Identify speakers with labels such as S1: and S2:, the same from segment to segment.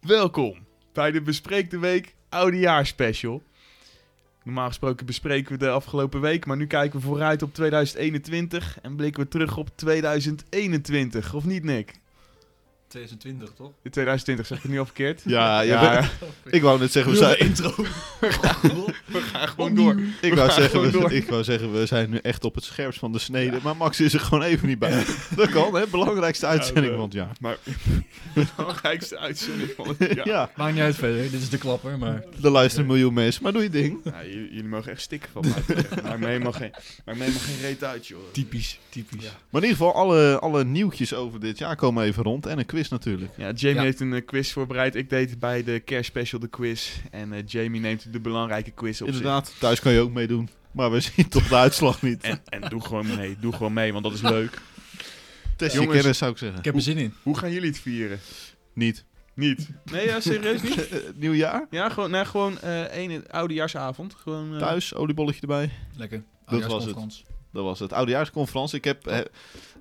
S1: Welkom bij de Bespreek de Week Oudejaarspecial. Normaal gesproken bespreken we de afgelopen week, maar nu kijken we vooruit op 2021 en blikken we terug op 2021. Of niet, Nick?
S2: 2020, toch?
S1: In 2020 zeg ik het nu al verkeerd.
S3: Ja, ja,
S1: Ja,
S3: ik wou net zeggen, we
S2: Heel de
S3: zijn,
S2: intro.
S1: we gaan gewoon door.
S3: ik, wou
S1: gaan
S3: zeggen
S1: gewoon
S3: we,
S1: door.
S3: ik wou zeggen, we zijn nu echt op het scherpst van de snede. Maar Max is er gewoon even niet bij. Dat kan, hè? Belangrijkste uitzending
S1: we-
S3: van het jaar.
S1: Maar de belangrijkste uitzending van het jaar.
S3: Ja,
S2: Maakt niet uit verder, dit is de klapper, maar...
S3: er luisteren een miljoen mensen, maar doe je ding.
S1: Nou, j- jullie mogen echt stikken van mij. Maakt me helemaal geen, maakt me helemaal geen reet uit, joh.
S2: Typisch, typisch.
S1: Ja.
S3: Maar in ieder geval, alle, alle nieuwtjes over dit jaar komen even rond. En een quiz natuurlijk.
S1: Ja, Jamie
S2: Ja.
S1: heeft een eh, quiz voorbereid. Ik deed bij de kerstspecial de quiz. En eh, Jamie neemt de belangrijke quiz op zich.
S3: Inderdaad, thuis kan je ook meedoen. Maar we zien toch de uitslag niet.
S1: En, en doe gewoon mee, doe gewoon mee, want dat is leuk.
S3: Test je
S1: Jongens.
S3: kennis, zou ik zeggen.
S2: Ik heb er zin in.
S1: Hoe gaan jullie het vieren?
S3: Niet. Eh,
S1: Niet. Nee, ja, serieus niet?
S3: Nieuwjaar?
S1: Ja, gewoon, nee, gewoon eh één oudejaarsavond. Gewoon, eh,
S3: Thuis, oliebolletje erbij.
S2: Lekker.
S3: was het. Dat was het. Oudejaarsconferentie. Ik heb eh,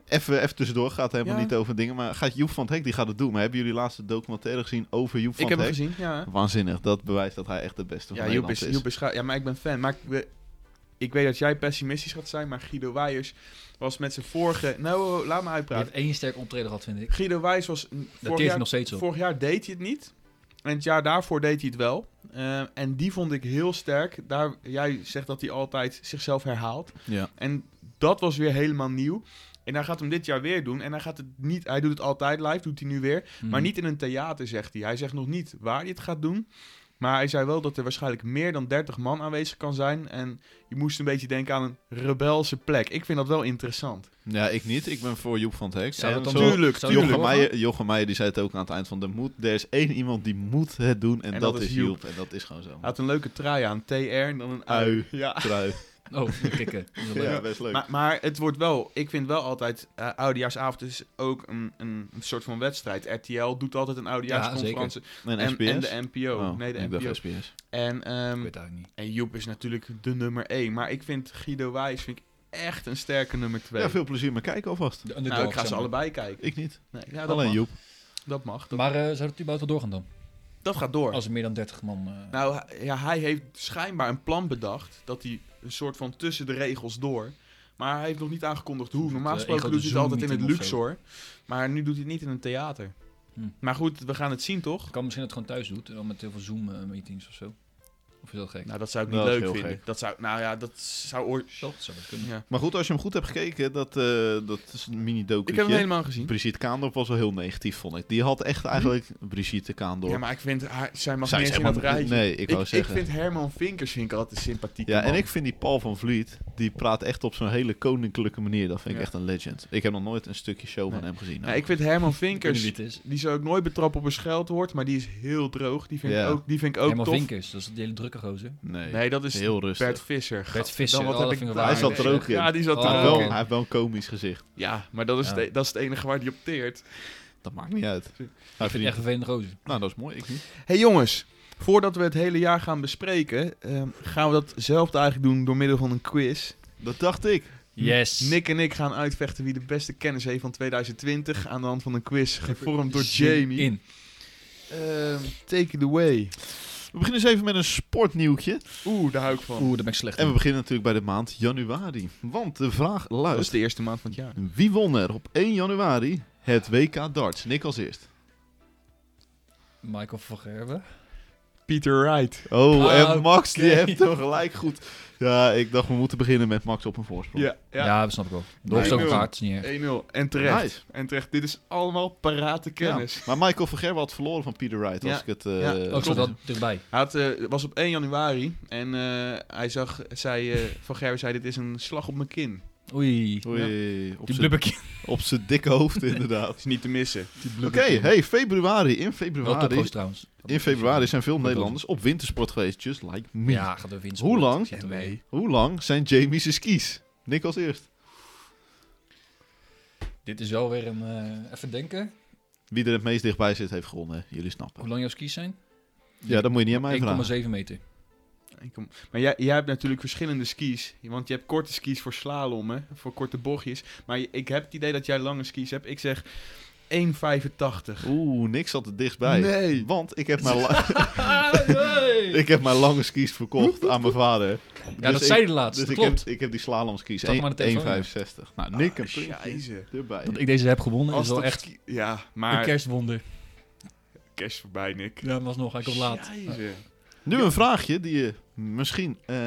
S3: even, even tussendoor, gaat helemaal
S1: Oh. Ja.
S3: niet over dingen. Maar gaat Joep van het Hek, die gaat het doen. Maar hebben jullie laatst de documentaire gezien over Joep van
S1: Ik heb
S3: het
S1: hem
S3: Hek?
S1: gezien, ja.
S3: Waanzinnig. Dat bewijst dat hij echt de beste van
S1: Ja, Joep is,
S3: Nederland is.
S1: Joep is ga- ja, maar ik ben fan. Maar ik, we- ik weet dat jij pessimistisch gaat zijn, maar Guido Wijers was met zijn vorige... Nou, laat me
S2: Je hebt
S1: uitpraten.
S2: één sterk optreden gehad, vind ik.
S1: Guido Wijers was mm,
S2: Dat
S1: vorig
S2: teert hij
S1: jaar
S2: nog steeds op.
S1: Vorig jaar deed hij het niet. En het jaar daarvoor deed hij het wel. Eh, en die vond ik heel sterk. Daar, jij zegt dat hij altijd zichzelf herhaalt.
S3: Ja.
S1: En dat was weer helemaal nieuw. En hij gaat hem dit jaar weer doen. En hij, gaat het niet, hij doet het altijd live, doet hij nu weer.
S2: Mhm.
S1: Maar niet in een theater, zegt hij. Hij zegt nog niet waar hij het gaat doen. Maar hij zei wel dat er waarschijnlijk meer dan 30 man aanwezig kan zijn. En je moest een beetje denken aan een rebelse plek. Ik vind dat wel interessant.
S3: Ja, ik niet. Ik ben voor Joep van het Hek.
S2: Zou
S3: En
S2: dat dan
S3: zo-
S1: tuurlijk,
S2: zou dat
S3: Jochem
S2: doorgaan?
S3: Meijer, Jochem Meijer die zei het ook aan het eind van... Er, moet, er is één iemand die moet het doen en, dat, is Joep. En dat is gewoon zo.
S1: Hij had een leuke trui aan. TR en dan een ui.
S3: Ui.
S1: Ja.
S3: Trui.
S2: Oh, kikken. Dat is wel leuk.
S3: Ja, best leuk.
S1: Maar, maar het wordt wel, ik vind wel altijd, eh oudejaarsavond is ook een, een soort van wedstrijd. RTL doet altijd een oudejaarsconferentie.
S3: en
S1: en,
S3: SBS?
S1: en de NPO.
S3: Oh,
S1: nee, de
S3: ik
S1: NPO.
S3: dacht SBS.
S1: En, ehm,
S2: Ik weet het eigenlijk niet.
S1: en Joep is natuurlijk de nummer 1. Maar ik vind Guido Wijs vind ik echt een sterke nummer 2.
S3: Ja, veel plezier maar kijken alvast.
S2: De
S1: nou, ik ga
S2: underdog,
S1: ze
S2: zeg maar.
S1: allebei kijken.
S3: Ik niet.
S1: Nee, ja, dat
S3: Alleen
S1: mag.
S3: Joep.
S1: Dat mag. Dat,
S2: Maar eh, zou het überhaupt wel doorgaan dan?
S1: dat gaat door.
S2: Als er meer dan 30 man... eh,
S1: Nou, hij- ja, hij heeft schijnbaar een plan bedacht. Dat hij een soort van tussen de regels door. Maar hij heeft nog niet aangekondigd hoe.
S2: Een
S1: Normaal
S2: soort, eh,
S1: gesproken doet hij het
S2: ingezoomd
S1: altijd in het
S2: meeting of zo.
S1: Luxor. Maar nu doet hij het niet in een theater.
S2: Hm.
S1: Maar goed, we gaan het zien toch?
S2: het kan misschien dat het gewoon thuis doet. En dan met heel veel Zoom-meetings of zo. Of is dat gek?
S1: Nou, dat zou ik niet
S3: Nou, dat is
S1: leuk
S3: heel
S1: vinden. Dat zou, nou ja, dat zou ooit...
S2: Toch? Dat zou dat kunnen.
S1: Ja.
S3: Maar goed, als je hem goed hebt gekeken, dat, eh, dat is een mini
S1: Ik heb hem
S3: documentje.
S1: helemaal gezien. Hm?
S3: Brigitte Kaandorp was wel heel negatief, vond ik. Die had echt eigenlijk Brigitte Kaandorp.
S1: Ja, maar ik vind, haar, zij mag
S3: Zij
S1: niet
S3: is
S1: eens in dat
S3: helemaal-
S1: rijtje.
S3: Nee, ik
S1: ik,
S3: wou zeggen.
S1: vind Herman Vinkers vind ik altijd sympathiek.
S3: ja, en ik vind die Paul van Vliet, die praat echt op zo'n hele koninklijke manier. Dat vind ik
S1: Ja.
S3: echt een legend. Ik heb nog nooit een stukje show van
S1: Nee.
S3: hem gezien.
S1: ik vind Herman
S2: Ik weet niet wie
S1: Vinkers...
S2: het is.
S1: Die zou ik nooit betrappen op een scheldwoord, maar die is heel droog. Die vind,
S3: Ja.
S1: ik, ook, die vind ik ook
S2: Helemaal
S1: tof.
S2: Vinkers, dat is die hele drukke gozer.
S3: Nee,
S1: Nee, dat is
S3: heel rustig.
S1: Bert Visser.
S2: Bert
S1: Gadverdamme,
S2: Visser,
S1: wat
S2: oh,
S1: heb
S2: dat
S1: ik
S2: vind ik
S1: daar-
S3: Hij zat er ook in.
S1: Ja, die zat
S3: hij,
S1: er ook
S2: Oh,
S3: heeft Nou, wel,
S2: oké.
S3: hij
S1: in.
S3: heeft wel een komisch gezicht.
S1: Ja, maar dat is,
S2: Ja.
S1: de- dat is het enige waar die op teert.
S3: Dat maakt niet uit. Hij
S2: Ik vind het
S3: verdient-
S2: echt een vervelende gozer.
S3: Nou, dat is mooi. Ik niet.
S1: hey jongens, voordat we het hele jaar gaan bespreken, ehm, gaan we datzelfde eigenlijk doen door middel van een quiz.
S3: Dat dacht ik.
S2: Yes.
S1: Nick en ik gaan uitvechten wie de beste kennis heeft van 2020 aan de hand van een quiz gevormd door
S2: Zin
S1: Jamie.
S2: In.
S1: Ehm, take it away.
S3: We beginnen eens even met een sportnieuwtje.
S1: Oeh, daar hou ik van.
S2: Oeh, daar ben ik slecht
S3: En we
S2: in.
S3: beginnen natuurlijk bij de maand januari. Want de vraag
S1: Dat is
S3: luidt...
S1: de eerste maand van het jaar.
S3: Wie won er op 1 januari het WK darts? Nick als eerst.
S2: Michael van Gerwen.
S1: Peter Wright.
S3: Oh,
S2: Ah,
S3: en Max, die
S2: oké.
S3: heeft hem gelijk goed. Ja, ik dacht we moeten beginnen met Max op een voorsprong.
S1: Ja,
S2: Ja.
S1: ja.
S2: dat snap ik wel. Door is ook
S1: Nee, Eh,
S2: elkaar, het is niet erg.
S1: 1-0. En terecht.
S3: Nice.
S1: En terecht. Dit is allemaal parate kennis.
S3: Ja, Maar Michael van Gerwen had verloren van Peter Wright, als
S1: Ja.
S3: ik het... eh,
S1: Ja.
S2: Ook zo
S3: goed-
S2: dat dichtbij.
S1: Hij had, eh, was op 1 januari en eh, hij zag, zei, eh, Van Gerwen zei, dit is een slag op mijn kin.
S2: Oei.
S3: Oei, op
S2: Die
S3: z'n-
S2: blubberkie.
S3: op zijn dikke hoofd inderdaad.
S1: is niet te missen.
S3: Oké, hey, februari. In
S2: Wel
S3: februari,
S2: topgoos trouwens.
S3: in februari zijn veel
S2: Wat
S3: Nederlanders op wintersport geweest, just like me.
S2: Ja, gaat er winst.
S3: Hoe lang?
S2: Ja, nee.
S3: Hoe lang zijn Jamie's skis? Nick als eerst.
S2: Dit is wel weer een... eh, even denken.
S3: Wie er het meest dichtbij zit, heeft gewonnen. Jullie snappen.
S2: Hoe lang jouw skis zijn?
S3: Ja, dat moet je niet aan mij vragen.
S2: 1,7 meter.
S1: Ik kom- Maar jij, jij hebt natuurlijk verschillende skis, want je hebt korte skis voor slalommen, voor korte bochtjes. Maar je- ik heb het idee dat jij lange skis hebt. Ik zeg 1,85.
S3: Oeh, niks zat er dichtbij.
S1: Nee.
S3: Want ik heb mijn, la-
S2: Ah, nee.
S3: ik heb mijn lange skis verkocht aan mijn vader.
S2: Ja, dat
S3: ik-
S2: zei hij laatst.
S3: Dus
S2: dat
S3: ik
S2: klopt.
S3: heb, ik heb die slalom skis.
S2: Zat maar aan de telefoon, ja.
S3: 1,65. Nou, Nick een
S1: Ah,
S3: puntje
S1: scheisse.
S3: erbij.
S2: Dat ik deze heb gewonnen
S1: Als
S2: is wel
S1: dat
S2: echt
S1: ski- Ja,
S2: een
S1: maar
S2: kerstwonder.
S1: cash voorbij, Nick.
S2: Ja, maar alsnog, hij komt laat.
S1: Scheisse.
S3: Nu een vraagje die je misschien eh,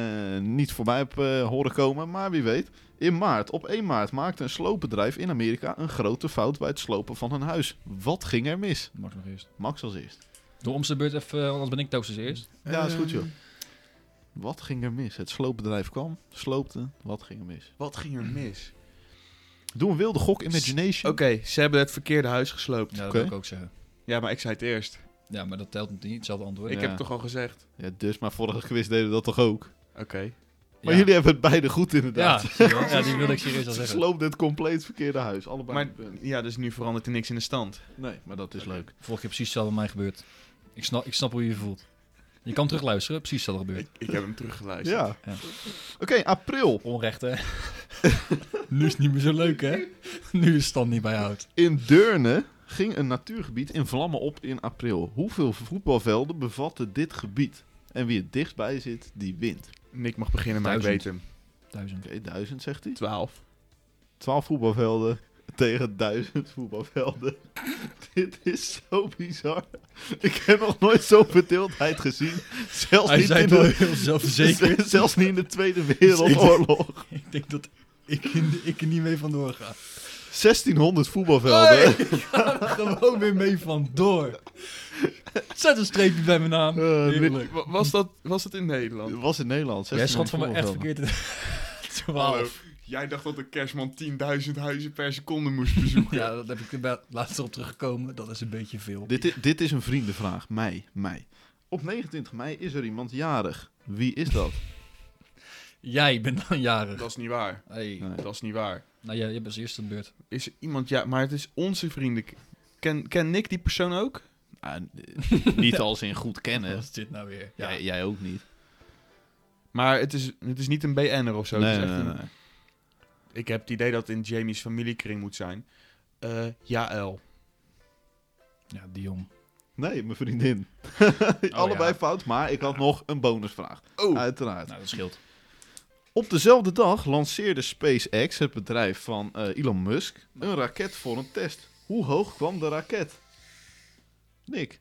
S3: niet voorbij hebt eh, horen komen, maar wie weet. In maart, op 1 maart, maakte een sloopbedrijf in Amerika een grote fout bij het slopen van hun huis. Wat ging er mis?
S2: Max nog eerst.
S3: Max als eerst.
S2: Doe om zijn beurt even, eh, anders ben ik toasters eerst.
S3: Ja, is goed,
S1: Eh,
S3: joh. Wat ging er mis? Het sloopbedrijf kwam, sloopte, wat ging er mis?
S1: Wat ging er mis?
S3: Doe een wilde gok,
S1: Oké,
S3: imagination.
S1: ze hebben het verkeerde huis gesloopt.
S2: Ja, dat
S3: Oké.
S2: wil ik ook zeggen.
S1: Ja, maar ik zei het eerst.
S2: Ja, maar dat telt niet. Hetzelfde antwoord.
S1: Ik
S3: Ja.
S1: heb het toch al gezegd?
S3: Ja, dus, maar vorige quiz deden we dat toch ook?
S1: Oké.
S3: Maar
S2: Ja.
S3: jullie hebben het beide goed,
S2: Ja,
S3: inderdaad.
S2: zie je wel. ja, die wil ik serieus al
S3: Ze
S2: zeggen.
S3: sloopten het compleet verkeerde huis, allebei
S1: Maar-
S3: een punt.
S1: Ja, dus nu verandert er niks in de stand.
S3: Nee, maar dat is leuk.
S2: Vorige keer precies hetzelfde met mij gebeurd. Ik snap, ik snap hoe je je voelt. Je kan terugluisteren, precies hetzelfde gebeurd.
S1: Ik, ik heb hem teruggeluisterd.
S3: Ja.
S2: Ja.
S3: Oké, april.
S2: Onrecht, hè? nu is het niet meer zo leuk, hè? Nu is stand niet bij houdt.
S3: In Deurne ging een natuurgebied in vlammen op in april. Hoeveel voetbalvelden bevatte dit gebied? En wie het dichtbij zit, die wint.
S1: Nick mag beginnen, maar ik weet
S2: Duizend.
S1: hem.
S2: Duizend.
S3: Oké, duizend zegt hij.
S1: 12.
S3: 12 voetbalvelden tegen duizend voetbalvelden. Dit is zo bizar. Ik heb nog nooit zo'n verdeeldheid gezien. Zelfs,
S2: Hij
S3: niet
S2: zei
S3: in
S2: het wel
S3: de,
S2: heel zelfverzekerd.
S3: zelfs niet in de Tweede Wereldoorlog.
S2: ik denk dat ik, ik er niet mee vandoor ga.
S3: 1600 voetbalvelden.
S2: ik ga er gewoon weer mee vandoor. Zet een streepje bij mijn naam.
S3: Eh,
S2: Heerlijk.
S1: Wa- Was dat, was dat in Nederland?
S3: Dat was in Nederland.
S2: Jij schat van me echt
S3: 1600
S2: verkeerd. in-
S1: Hallo.
S2: 12.
S1: Jij dacht dat een kerstman 10.000 huizen per seconde moest bezoeken.
S2: Ja, daar heb ik er bij- laatst op teruggekomen. Dat is een beetje veel.
S3: Dit is, dit is een vriendenvraag. Mei, mei. Op 29 mei is er iemand jarig. Wie is dat?
S2: Jij bent dan jarig.
S1: Dat is niet waar.
S2: Hey.
S3: Nee.
S1: Dat is niet waar.
S2: Nou ja, je bent als eerste aan de beurt.
S1: Is er iemand... Ja, maar het is onze vrienden. Ken, ken Nick die persoon ook?
S3: Ah, eh, niet als in goed
S2: Wat
S3: kennen.
S2: is dit nou weer?
S3: Jij, jij ook niet.
S1: Maar het is, het is niet een BN'er of zo.
S3: nee,
S1: het is echt
S3: nee,
S1: een-
S3: nee.
S1: Ik heb het idee dat het in Jamie's familiekring moet zijn. Eh Jaël.
S2: Ja, Dion.
S3: Nee, mijn vriendin. Oh, Allebei
S2: ja.
S3: fout, maar ik had nog een bonusvraag.
S1: Oh,
S3: Uiteraard.
S2: Nou, dat scheelt.
S3: Op dezelfde dag lanceerde SpaceX, het bedrijf van eh, Elon Musk, een raket voor een test. Hoe hoog kwam de raket? Nick.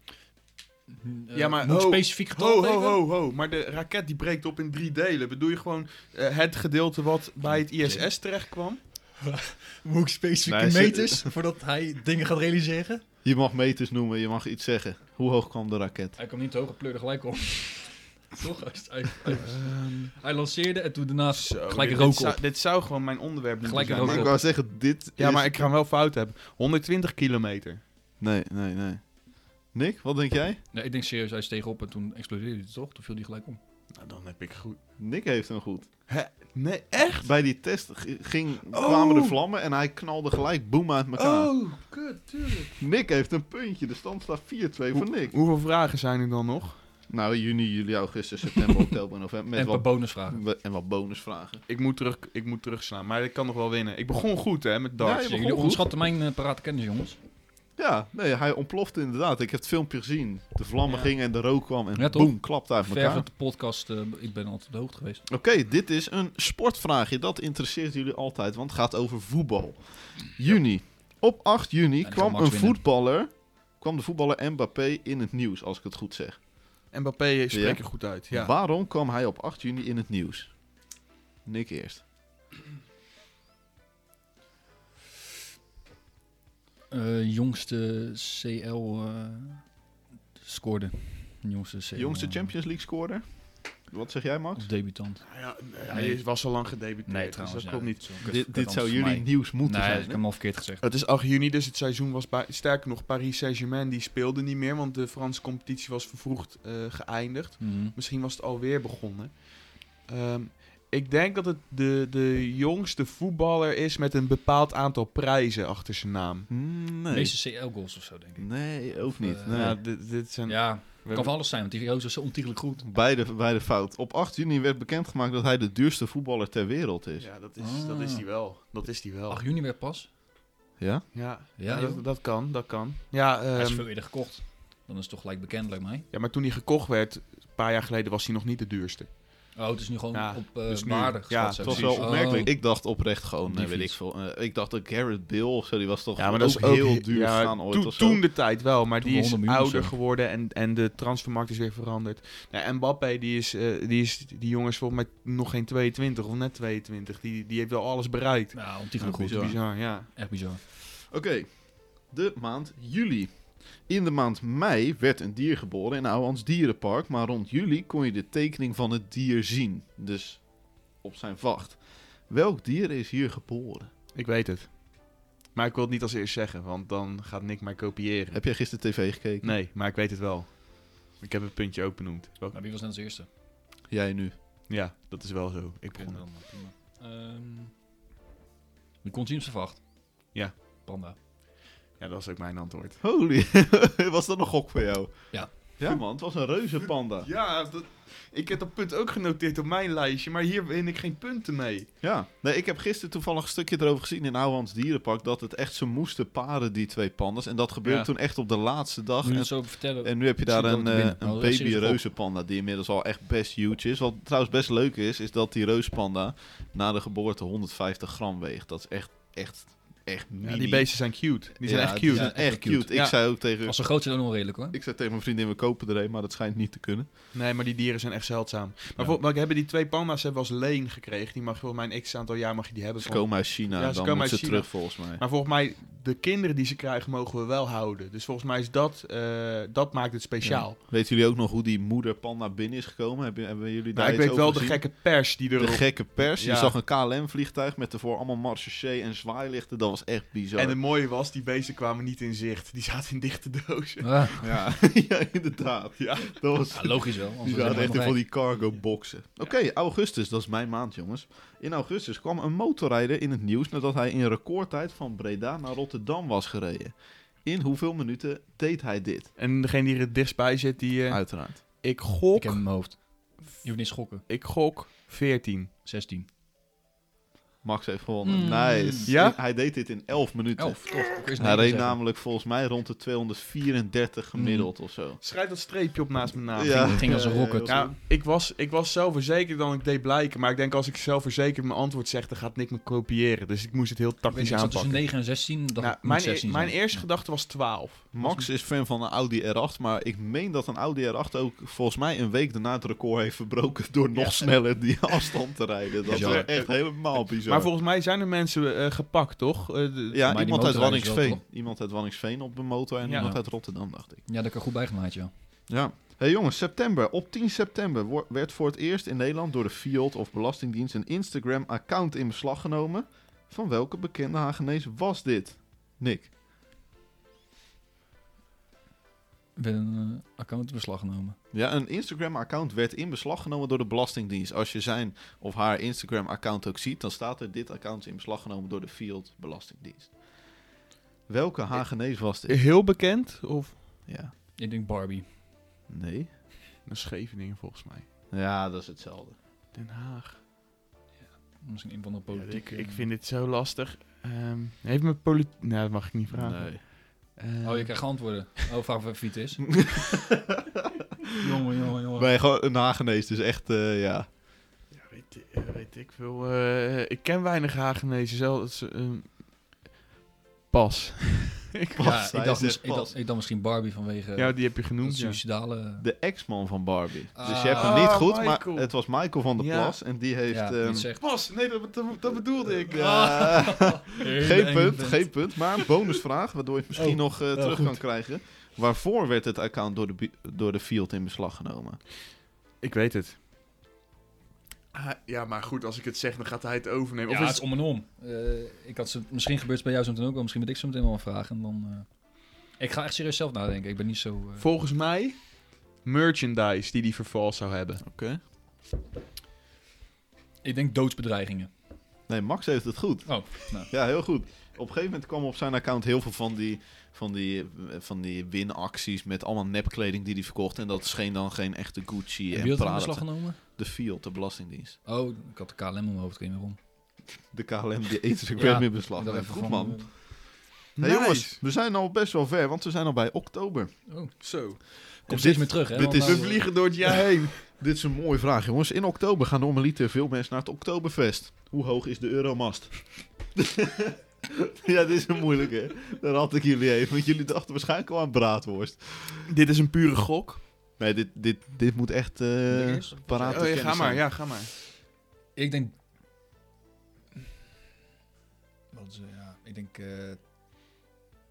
S1: Ja, maar
S2: Hm, eh, Moet ik
S1: ho,
S2: specifiek getal
S1: ho, ho,
S2: geven?
S1: ho, ho. Maar de raket die breekt op in drie delen. Bedoel je gewoon eh, het gedeelte wat bij het ISS terecht kwam?
S2: Moet ik specifieke
S3: Nee, ze-
S2: meters voordat hij dingen gaat realiseren?
S3: Je mag meters noemen, je mag iets zeggen. Hoe hoog kwam de raket?
S2: Hij kwam niet te hoog, pleurde gelijk om. Toch? Hij, hij, hij- hij lanceerde en toen daarna Ehm, gelijk
S1: dit,
S2: rook
S1: dit zou,
S2: op.
S1: dit zou gewoon mijn onderwerp moeten
S2: Gelijk
S1: zijn.
S2: rook
S3: Maar
S1: Maar-
S3: ik
S2: op.
S3: wou zeggen, dit
S1: Ja,
S3: is-
S1: maar ik ga hem wel fout hebben. 120 kilometer.
S3: Nee, nee, nee. Nick, wat denk jij?
S2: Nee, ik denk serieus, hij steeg op en toen explodeerde hij toch? Toen viel hij gelijk om.
S1: Nou, dan heb ik goed.
S3: Nick heeft hem goed.
S1: Nee, echt?
S3: Bij die test g- ging,
S1: Oh.
S3: kwamen de vlammen en hij knalde gelijk boem uit elkaar.
S1: Oh, kut, tuurlijk.
S3: Nick heeft een puntje. De stand staat 4-2 voor Nick.
S1: Hoeveel vragen zijn er dan nog?
S3: Nou, juni, juli, augustus, september, oktober, november. Met
S2: en een
S3: wat,
S2: paar bonusvragen.
S3: we- en wat bonusvragen.
S1: Ik moet, terug, ik moet terugslaan, maar ik kan nog wel winnen. Ik begon goed, hè, met darts.
S3: Ja,
S2: Ja,
S3: je begon
S2: jullie
S3: goed.
S2: onderschatten mijn eh, parate kennis, jongens.
S3: Ja, nee, hij ontplofte inderdaad. Ik heb het filmpje gezien. De vlammen
S2: Ja.
S3: gingen en de rook kwam en
S2: Ja, toch?
S3: boem, klapte uit
S2: Ver
S3: elkaar.
S2: van de podcast, eh, ik ben altijd op de hoogte geweest.
S3: Oké, dit is een sportvraagje. Dat interesseert jullie altijd, want het gaat over voetbal. Juni. Op 8 juni
S2: Ja, die zal
S3: kwam
S2: Max
S3: een
S2: winnen.
S3: voetballer, kwam de voetballer Mbappé in het nieuws, als ik het goed zeg.
S1: Mbappé spreekt er goed uit, ja.
S3: Waarom kwam hij op 8 juni in het nieuws? Nick eerst.
S2: Eh, jongste CL eh, scoorde. Jongste CL.
S3: Jongste
S2: eh,
S3: Champions League scorer? Wat zeg jij, Max?
S2: Of debutant.
S1: Nou ja, hij is- was al lang gedebuteerd,
S2: Nee,
S1: dus
S2: trouwens.
S1: dat klopt niet.
S3: Dit, dit zou jullie
S2: niet
S3: nieuws moeten
S2: moeten Nee, ik
S3: zijn.
S2: heb
S3: hè?
S2: hem al verkeerd gezegd.
S1: Het is 8 juni, dus het seizoen was bij, sterker nog Paris Saint-Germain. Die speelde niet meer, want de Franse competitie was vervroegd eh, geëindigd.
S2: Mhm.
S1: Misschien was het alweer begonnen. Ehm, ik denk dat het de, de jongste voetballer is met een bepaald aantal prijzen achter zijn naam.
S3: Mm, Nee.
S2: Meeste CL-goals of zo, denk ik.
S3: Nee, ook niet.
S2: eh,
S3: Nee.
S1: Ja, dit, dit zijn...
S2: Ja,
S1: we
S2: kan
S1: hebben-
S2: van alles zijn, want die gozer is zo ontiegelijk goed.
S3: Beide, beide fout. Op 8 juni werd bekendgemaakt dat hij de duurste voetballer ter wereld is.
S2: Ah.
S1: Ja, dat is, dat is die wel. Dat is die wel.
S3: Ehm,
S2: 8 juni weer pas.
S3: Ja?
S1: Ja,
S2: Ja, joh.
S1: dat, dat kan, dat kan. Ja,
S2: Hij is
S1: ehm,
S2: veel eerder gekocht. Dan is het toch gelijk bekend, lijkt mij.
S1: ja, maar toen hij gekocht werd, een paar jaar geleden, was hij nog niet de duurste.
S2: Oh, het is nu gewoon
S1: Ja,
S2: op eh
S1: dus nu-
S2: waarde
S1: ja,
S2: geschat.
S3: Het
S1: het
S3: was
S1: Precies. Oh.
S3: wel
S2: Oh.
S3: opmerkelijk. Ik dacht oprecht gewoon,
S2: Die
S3: nee, weet ik
S2: fiets.
S3: veel. eh, ik dacht dat Garrett Bill of zo, die was toch
S1: Ja, maar
S3: ook,
S1: dat is ook
S3: heel duur
S1: ja,
S3: staan ooit
S1: toen,
S3: of zo.
S1: toen de tijd wel, maar
S2: Toen
S1: die is
S2: 100 miljoen of
S1: ouder
S2: zo.
S1: geworden en, en de transfermarkt is weer veranderd. Nou, en Mbappé, die, is, eh, die, is, die jongen is volgens mij nog geen 22 of net 22. Die, die heeft wel alles bereikt.
S2: Ja, om die
S3: Ja,
S2: goed.
S3: bizar.
S1: Bizar, ja.
S2: Echt bizar.
S3: Oké, de maand juli. In de maand mei werd een dier geboren in Ouwans Dierenpark, maar rond juli kon je de tekening van het dier zien. Dus op zijn vacht. Welk dier is hier geboren?
S1: Ik weet het. Maar ik wil het niet als eerst zeggen, want dan gaat Nick mij kopiëren.
S3: Heb jij gisteren tv gekeken?
S1: Nee, maar ik weet het wel. Ik heb het puntje ook benoemd. Wel-
S2: Maar wie was net als eerste?
S3: Jij nu.
S1: Ja, dat is wel zo. Ik begon het.
S2: Panda, prima. Ehm, die kon zien op zijn vacht.
S1: Ja.
S2: Panda.
S1: Ja, dat is ook mijn antwoord.
S3: Holy, was dat een gok voor jou?
S2: Ja.
S3: Ja man, het was een reuzenpanda.
S1: Ja, dat- ik heb dat punt ook genoteerd op mijn lijstje, maar hier win ik geen punten mee.
S3: Ja, nee, ik heb gisteren toevallig een stukje erover gezien in Ouwans Dierenpark. Dat het echt ze moesten paren, die twee pandas. En dat gebeurde
S1: Ja.
S3: toen echt op de laatste dag.
S2: Moet je
S3: En,
S2: het zo vertellen?
S3: en nu heb je daar
S2: Misschien
S3: een,
S2: dat we
S3: eh,
S2: winnen.
S3: een
S2: Nou, dat is
S3: baby
S2: serieus
S3: reuzenpanda die inmiddels al echt best huge is. Wat trouwens best leuk is, is dat die reuzenpanda na de geboorte 150 gram weegt. Dat is echt, echt, echt mini.
S1: Ja, die beesten zijn cute. Die zijn
S3: Ja,
S1: echt
S3: die
S1: cute.
S3: zijn
S2: Ja,
S3: echt cute. Ik
S1: Ja.
S3: zei ook tegen...
S2: Als ze groot zijn, dan onredelijk hoor.
S3: Ik zei tegen mijn vriendin, we kopen er een, maar dat schijnt niet te kunnen.
S1: Nee, maar die dieren zijn echt zeldzaam. Maar
S2: Ja.
S1: voor- maar ik hebben die twee panda's hebben we als leen gekregen. Die mag volgens mij een x aantal jaar mag je die hebben.
S3: Ze
S1: van-
S3: komen uit China,
S1: Ja, ze
S3: dan
S1: komen
S3: moeten
S1: uit
S3: ze
S1: China.
S3: terug volgens mij.
S1: Maar volgens mij, de kinderen die ze krijgen, mogen we wel houden. Dus volgens mij is dat, eh, dat maakt het speciaal.
S3: Weten jullie ook nog hoe die moederpanda binnen is gekomen? Hebben, hebben jullie daar
S1: Maar Nou, ik
S3: iets
S1: weet
S3: over
S1: wel de
S3: gezien?
S1: gekke pers die
S3: De
S1: erop...
S3: gekke pers. Je
S1: Ja.
S3: zag een KLM-vliegtuig met ervoor allemaal marchechee en zwaailichten. Dat was echt bizar.
S1: En het mooie was, die beesten kwamen niet in zicht. Die zaten in dichte dozen.
S2: Ah,
S3: ja. ja, inderdaad.
S1: Ja.
S3: Dat was...
S2: ja, logisch wel. anders
S3: Die
S2: zijn
S3: zaten
S2: we
S3: echt in
S2: helemaal
S3: van die cargo-boxen. Oké, augustus, dat is mijn maand, jongens. In augustus kwam een motorrijder in het nieuws nadat hij in recordtijd van Breda naar Rotterdam was gereden. In hoeveel minuten deed hij dit?
S1: En degene die er het dichtstbij zit, die... eh,
S3: Uiteraard.
S1: ik
S2: weg.
S1: gok...
S2: Ik heb hem in mijn hoofd. Je moet niet schokken.
S1: Ik gok 14.
S2: 16.
S3: Max heeft gewonnen.
S2: Mm.
S3: Nice.
S1: Ja?
S3: Hij deed dit in 11 minuten.
S2: 11.
S3: Hij reed namelijk volgens mij rond de 234 gemiddeld of zo. Nou,
S1: Schrijf dat streepje op naast mijn naam.
S2: Hmm. ging- ging als een rocket.
S3: Ja,
S1: Ja, ik was, ik was zelfverzekerd dan ik deed blijken. Maar ik denk als ik zelfverzekerd mijn antwoord zeg, dan gaat Nick me kopiëren. Dus ik moest het heel tactisch
S2: Ik zat dus tussen
S1: aanpakken.
S2: 9 en 16. Dat
S1: Nou,
S2: moet
S1: mijn,
S2: 16
S1: mijn
S2: zijn.
S1: eerste gedachte was 12.
S3: Max is fan van een Audi R8, maar ik meen dat een Audi R8 ook volgens mij een week daarna het record heeft verbroken door nog sneller die afstand te rijden. Dat is
S2: Bizar.
S3: echt helemaal bizar.
S1: Maar volgens mij zijn er mensen eh, gepakt, toch? Eh, de-
S3: ja,
S2: Maar die
S3: iemand uit
S2: motorrijders wel,
S3: Wanningsveen. Iemand uit Wanningsveen op een motor en
S1: Ja.
S3: iemand uit Rotterdam, dacht ik.
S2: Ja, dat kan goed bijgemaakt, ja.
S3: Ja. Hey jongens, september. Op 10 september wo- werd voor het eerst in Nederland door de FIOD of Belastingdienst een Instagram-account in beslag genomen. Van welke bekende Hagenees was dit? Nick.
S2: Ik ben een eh, account in beslag genomen.
S3: Ja, een Instagram-account werd in beslag genomen door de Belastingdienst. Als je zijn of haar Instagram-account ook ziet, dan staat er dit account is in beslag genomen door de Field Belastingdienst. Welke Hagenees was dit?
S1: Heel bekend? Of?
S3: Ja,
S2: Ik denk Barbie.
S3: nee.
S1: Een Scheveningen volgens mij.
S3: Ja, dat is hetzelfde.
S1: Den Haag.
S2: Misschien een van de
S1: ik,
S2: politiek.
S1: ik vind dit zo lastig. Ehm, heeft mijn politiek... Nee, dat mag ik niet vragen.
S3: Nee.
S1: Ehm,
S2: Oh, je krijgt antwoorden. Oh, vraag of fiets is. jongen, jongen, jongen.
S3: Nee, gewoon een Hagenees, dus echt, eh, ja.
S1: ja, weet, ik- eh, weet ik veel. eh, ik ken weinig Hagenezen. Zelfs... ehm, pas.
S3: Pas,
S2: Ja,
S3: hij
S2: ik dacht,
S3: zegt
S2: mis- ik,
S3: pas.
S2: dacht, ik dacht misschien Barbie vanwege
S1: Ja, die heb je
S2: dat
S1: genoemd. ja.
S2: suicidale...
S3: De ex-man van Barbie. dus
S2: Ah.
S3: je hebt hem niet
S1: Ah,
S3: goed,
S1: Michael.
S3: maar het was Michael van der
S1: Ja.
S3: Plas. En die heeft...
S2: ja,
S3: ehm,
S2: niet zegt.
S1: Pas! Nee, dat, dat, dat bedoelde ik. Ah.
S3: ja, geen punt,
S2: geen
S3: geen punt. Maar een bonusvraag, waardoor je het misschien
S2: Oh,
S3: nog eh, terug
S2: goed.
S3: kan krijgen. Waarvoor werd het account door de, bi- door de field in beslag genomen?
S1: Ik weet het. Ah, ja, maar goed, als ik het zeg, dan gaat hij het overnemen.
S2: Ja,
S1: of is
S2: het is om en om. Eh, ik had ze, misschien gebeurt het bij jou zo meteen ook wel. Misschien moet ik zo meteen wel een vraag. En dan, eh, ik ga echt serieus zelf nadenken. Ik ben niet zo... eh,
S1: Volgens mij merchandise die die vervals zou hebben.
S3: Oké.
S2: ik denk doodsbedreigingen.
S3: Nee, Max heeft het goed.
S2: Oh, nou.
S3: Ja, heel goed. Op een gegeven moment kwam op zijn account heel veel van die, van die, eh, van die winacties met allemaal nepkleding die hij verkocht. En dat scheen dan geen echte Gucci
S2: Heb
S3: en,
S2: je dat in
S3: Prada.
S2: beslag
S3: te-
S2: genomen?
S3: De field, de belastingdienst.
S2: Oh, ik had de KLM in mijn hoofd. Ik weet niet waarom.
S3: De KLM, die Instagram
S2: Ja,
S3: in beslag.
S2: Ik dacht
S3: neemt.
S2: even
S3: Goed
S2: gewoon,
S3: man.
S2: eh,
S3: Hey,
S1: Nice.
S3: jongens, we zijn al best wel ver, want we zijn al bij oktober.
S2: Oh,
S1: Zo.
S2: komt
S3: dit-
S2: steeds meer terug, hè?
S3: dit
S2: want
S3: is-
S1: We
S2: nou-
S1: vliegen door het jaar heen.
S3: Dit is een mooie vraag, jongens. In oktober gaan normaliter veel mensen naar het Oktoberfest. Hoe hoog is de Euromast? ja, dit is een moeilijke. Dat had ik jullie even, want jullie dachten waarschijnlijk al aan braadworst.
S1: Dit is een pure gok.
S3: Nee, dit, dit, dit moet echt eh
S2: Ding is-
S3: paraat
S1: Oh, ja,
S3: kennis
S1: ga maar,
S3: zijn.
S1: ja, ga maar.
S2: eh, Ik denk... Wat is, eh, ja, ik denk eh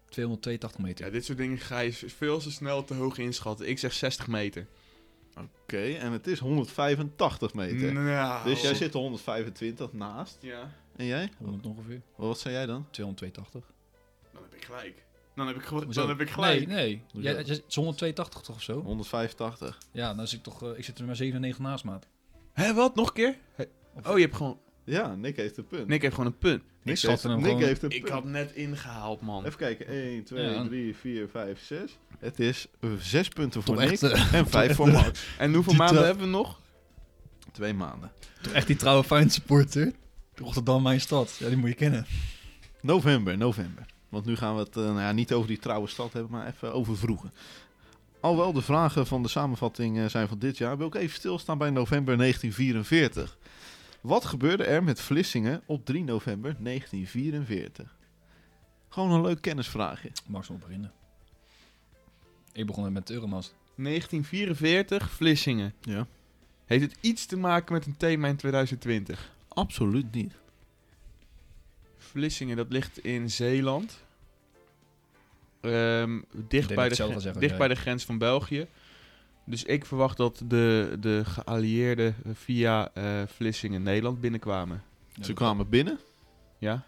S2: 282 meter.
S1: Ja, dit soort dingen ga je veel te snel te hoog inschatten. Ik zeg 60 meter.
S3: Oké, en het is 185 meter.
S1: Nou.
S3: Dus jij zit er 125 naast.
S1: Ja,
S3: En jij?
S2: 100 ongeveer.
S3: Wat zei jij dan?
S2: 282.
S1: dan heb ik gelijk. Dan heb ik, gewo-
S2: Hoezo?
S1: dan heb ik gelijk.
S2: Nee, nee.
S3: Hoezo?
S2: Ja, het is het is 182 toch of zo?
S3: 185.
S2: Ja, dan zit ik toch... eh, ik zit er maar 97 naast, maat.
S1: Hé, wat? Nog een keer? Oh, je hebt gewoon...
S3: Ja, Nick heeft een punt.
S1: Nick heeft gewoon een punt.
S3: Nick,
S2: schatte
S3: heeft,
S2: hem
S3: Nick
S2: gewoon-
S3: heeft een
S1: Ik
S3: punt.
S1: had net ingehaald, man.
S3: Even kijken. 1, 2,
S2: Ja.
S3: 3, 4, 5, 6. Het is 6 punten voor
S2: Toch
S3: Nick
S2: echt, eh,
S3: en 5 voor Max.
S1: En hoeveel
S3: Die
S1: maanden
S3: tra-
S1: hebben we nog?
S3: Twee maanden.
S2: Toch echt die trouwe fijn supporter. Rotterdam, mijn stad. Ja, die moet je kennen.
S3: November, november. Want nu gaan we het eh, nou ja, niet over die trouwe stad hebben, maar even over vroeger. Alhoewel de vragen van de samenvatting eh, zijn van dit jaar, wil ik even stilstaan bij november 1944. Wat gebeurde er met Vlissingen op 3 november 1944? Gewoon een leuk kennisvraagje.
S2: Max nog beginnen. Ik begon met Euromast.
S1: 1944, Vlissingen.
S3: Ja.
S1: Heeft het iets te maken met een thema in 2020?
S3: Absoluut niet.
S1: Vlissingen, dat ligt in Zeeland. Ehm, dicht
S2: dat
S1: bij,
S2: ik
S1: de,
S2: hetzelfde
S1: gren-
S2: zeg als
S1: dicht
S2: jij.
S1: bij de grens van België. Dus ik verwacht dat de, de geallieerden via eh, Vlissingen Nederland binnenkwamen.
S3: Ze kwamen binnen.
S1: Ja.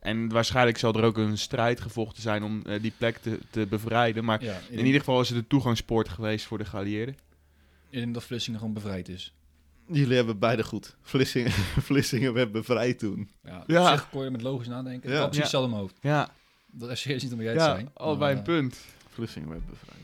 S1: En waarschijnlijk zal er ook een strijd gevochten zijn om eh, die plek te, te bevrijden. Maar
S2: Ja, ik
S1: in ieder geval is het de toegangspoort geweest voor de geallieerden.
S2: Ik denk dat Vlissingen gewoon bevrijd is.
S3: Jullie hebben beide goed. Vlissingen, Vlissingen werd bevrijd toen.
S2: Ja,
S1: Ja.
S2: Op zich kon je met logisch nadenken.
S3: Ja.
S2: Ja. Precies
S1: Ja.
S2: hetzelfde in mijn hoofd.
S1: Ja,
S2: Dat is serieus niet om jij te
S1: ja
S2: zijn.
S1: allebei
S2: Maar,
S1: een
S2: eh,
S1: punt.
S3: Vlissingen werd bevrijd.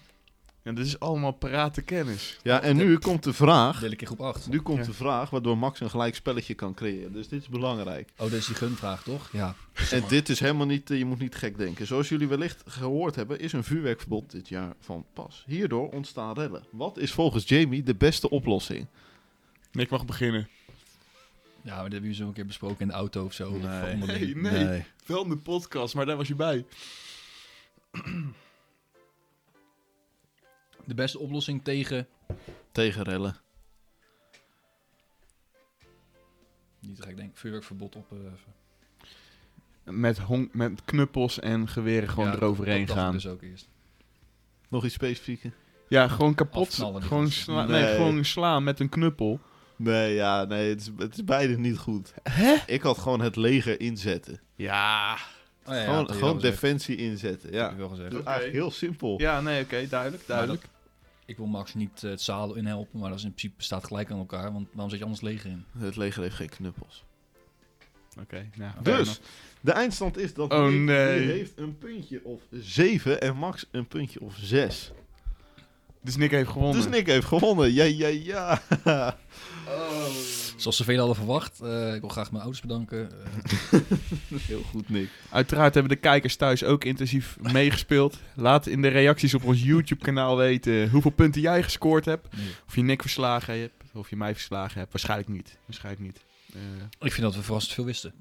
S1: Ja, dit is allemaal parate kennis.
S3: Ja, en nu komt de vraag.
S2: Deel ik in groep 8.
S3: Nu komt
S1: Ja.
S3: de vraag waardoor Max een gelijk spelletje kan creëren. Dus dit is belangrijk.
S2: Oh, dat is die gunvraag, toch? Ja.
S3: En dit is helemaal niet, eh, je moet niet gek denken. Zoals jullie wellicht gehoord hebben, is een vuurwerkverbod dit jaar van pas. Hierdoor ontstaan rellen. Wat is volgens Jamie de beste oplossing?
S1: Ik mag beginnen.
S2: Ja, maar dat hebben we zo een keer besproken in de auto of zo.
S3: Nee.
S2: Of onderling.
S1: Nee, nee. Wel in de podcast, maar daar was je bij.
S2: De beste oplossing tegen...
S3: Tegenrellen.
S2: Niet te gek denken. Vuurwerkverbod eh, opheffen.
S1: Met, hon- met knuppels en geweren gewoon
S2: Ja,
S1: eroverheen
S2: dat dacht
S1: gaan.
S2: ik dus ook eerst.
S3: Nog iets specifieker?
S1: Ja, gewoon kapot.
S2: Afknallen, die
S1: Gewoon,
S2: gasten.
S1: sla- nee.
S3: Nee.
S1: gewoon slaan met een knuppel.
S3: Nee, ja, nee, het is, het is beide niet goed.
S1: Hè?
S3: Ik had gewoon het leger inzetten.
S1: Ja.
S2: Oh, ja, ja,
S3: gewoon
S2: dat heb je wel
S3: gewoon
S2: gezegd.
S3: defensie inzetten,
S2: Dat heb
S3: ja.
S2: je wel gezegd.
S3: Dat is
S1: Oké.
S3: eigenlijk heel simpel.
S1: Ja, nee, oké, duidelijk, duidelijk.
S2: Ik wil Max niet eh, het zadel inhelpen, maar dat is in principe staat gelijk aan elkaar. Want waarom zet je anders leger in?
S3: Het leger heeft geen knuppels.
S1: Oké, nou,
S3: Dus, de eindstand is dat
S1: Oh,
S3: Nick,
S1: nee.
S3: die heeft een puntje of 7 en Max een puntje of 6.
S1: Dus Nick heeft gewonnen.
S3: Dus Nick heeft gewonnen. Ja, ja, ja.
S2: Zoals zoveel hadden verwacht. eh, ik wil graag mijn ouders bedanken. eh,
S3: Heel goed, Nick.
S1: Uiteraard hebben de kijkers thuis ook intensief meegespeeld. Laat in de reacties op ons YouTube-kanaal weten hoeveel punten jij gescoord hebt.
S2: nee.
S1: Of je Nick verslagen hebt, of je mij verslagen hebt. Waarschijnlijk niet. Waarschijnlijk niet. Eh,
S2: Ik vind dat we verrassend veel wisten.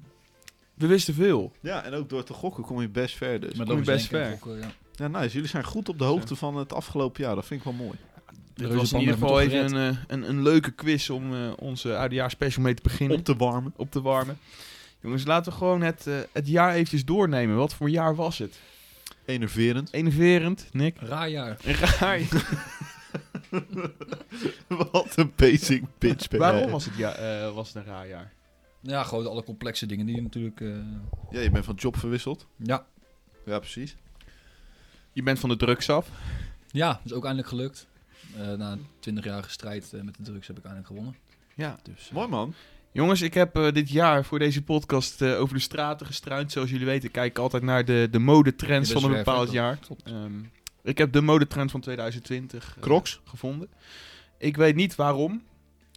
S1: we wisten veel.
S3: Ja, en ook door te gokken kom je best ver dus.
S2: Met
S1: kom je
S2: logisch
S1: best
S2: denken
S1: ver.
S2: en gokken, eh, ja.
S3: Ja, nice. Jullie zijn goed op de hoogte van het afgelopen jaar. Dat vind ik wel mooi.
S1: Dit
S2: reuzenband
S1: was in ieder
S2: heeft me
S1: geval even
S2: toch
S1: een, eh, een, een leuke quiz om eh, onze oudejaarsspecial mee te beginnen.
S3: Op te warmen.
S1: op te warmen. Jongens, laten we gewoon het, eh, het jaar eventjes doornemen. Wat voor jaar was het?
S3: Enerverend.
S1: Enerverend, Nick.
S2: Raar jaar.
S1: Een Raar.
S3: Wat een basic bitch ben jij.
S1: Waarom was het, ja, eh, was het een raar jaar?
S2: Ja, gewoon alle complexe dingen die je natuurlijk... eh,
S3: Ja, je bent van job verwisseld.
S2: ja.
S3: Ja, precies.
S1: Je bent van de drugs af.
S2: ja, dat is ook eindelijk gelukt. Eh, na een 20-jarige strijd eh, met de drugs heb ik eindelijk gewonnen.
S1: Ja.
S2: Dus, eh,
S3: Mooi man.
S1: Jongens, ik heb eh, dit jaar voor deze podcast eh, over de straten gestruind. Zoals jullie weten, kijk ik altijd naar de, de modetrends
S2: Je bent
S1: van een
S2: zwerver,
S1: bepaald
S2: toch?
S1: jaar.
S2: Klopt.
S1: Ehm, ik heb de modetrend van 2020 eh,
S3: Crocs.
S1: gevonden. Ik weet niet waarom,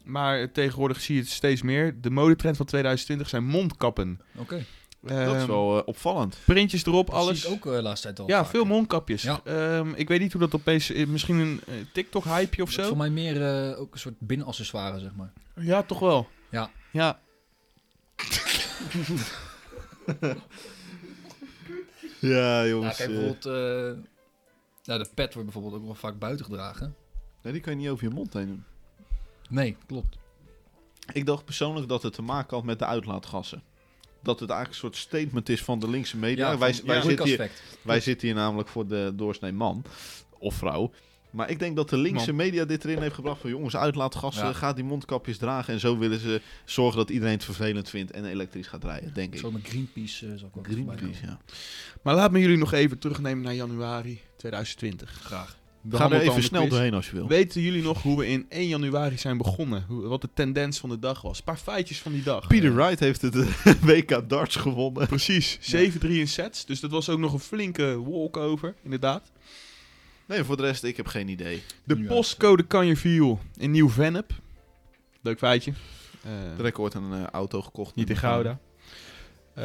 S1: maar tegenwoordig zie je het steeds meer. De modetrend van 2020 zijn mondkappen.
S2: Oké.
S3: dat is
S1: Ehm,
S3: wel eh, opvallend.
S1: Printjes erop,
S2: Dat
S1: alles.
S2: zie ik ook eh, laatst tijd al.
S1: ja,
S2: vaker.
S1: veel mondkapjes.
S2: Ja.
S1: Ehm, ik weet niet hoe dat opeens... eh, Misschien een eh, TikTok-hypeje of
S2: Dat is
S1: zo?
S2: Voor mij meer eh, ook een soort binnenaccessoire, zeg maar.
S1: Ja, toch wel.
S2: Ja.
S1: Ja.
S3: Ja,
S2: Ja,
S1: Nou,
S3: jongens.
S2: kijk,
S3: eh,
S2: bijvoorbeeld, eh, nou, de pet wordt bijvoorbeeld ook wel vaak buiten gedragen.
S3: nee, die kan je niet over je mond heen doen.
S2: Nee, klopt.
S3: Ik dacht persoonlijk dat het te maken had met de uitlaatgassen. Dat het eigenlijk een soort statement is van de linkse media.
S2: van-
S3: wij, wij,
S2: ja,
S3: zitten hier,
S2: aspect.
S3: wij zitten hier namelijk voor de doorsnee man of vrouw. Maar ik denk dat de linkse media dit erin heeft gebracht. Van jongens, uitlaatgassen,
S2: Ja.
S3: ga die mondkapjes dragen. En zo willen ze zorgen dat iedereen het vervelend vindt en elektrisch gaat rijden, denk ik.
S2: Zo met Greenpeace eh, zal ik ook wel voorbij
S3: Greenpeace,
S2: komen.
S3: ja.
S1: Maar laat me jullie nog even terugnemen naar januari 2020.
S2: Graag.
S3: We
S1: gaan
S3: gaan er
S1: we dan
S3: even
S1: de
S3: snel
S1: quiz.
S3: doorheen als je wil.
S1: Weten jullie nog hoe we in 1 januari zijn begonnen? Hoe- wat de tendens van de dag was? Een paar feitjes van die dag.
S3: Peter Wright heeft het eh, WK darts gewonnen.
S1: Precies, 7-3 in sets. Dus dat was ook nog een flinke walkover, inderdaad.
S3: Nee, voor de rest, ik heb geen idee.
S1: De
S2: Nu
S1: postcode Canjerviel in Nieuw-Vennep. Leuk feitje. Eh,
S3: Ik heb ooit een eh, auto gekocht.
S1: niet in Gouda. Eh,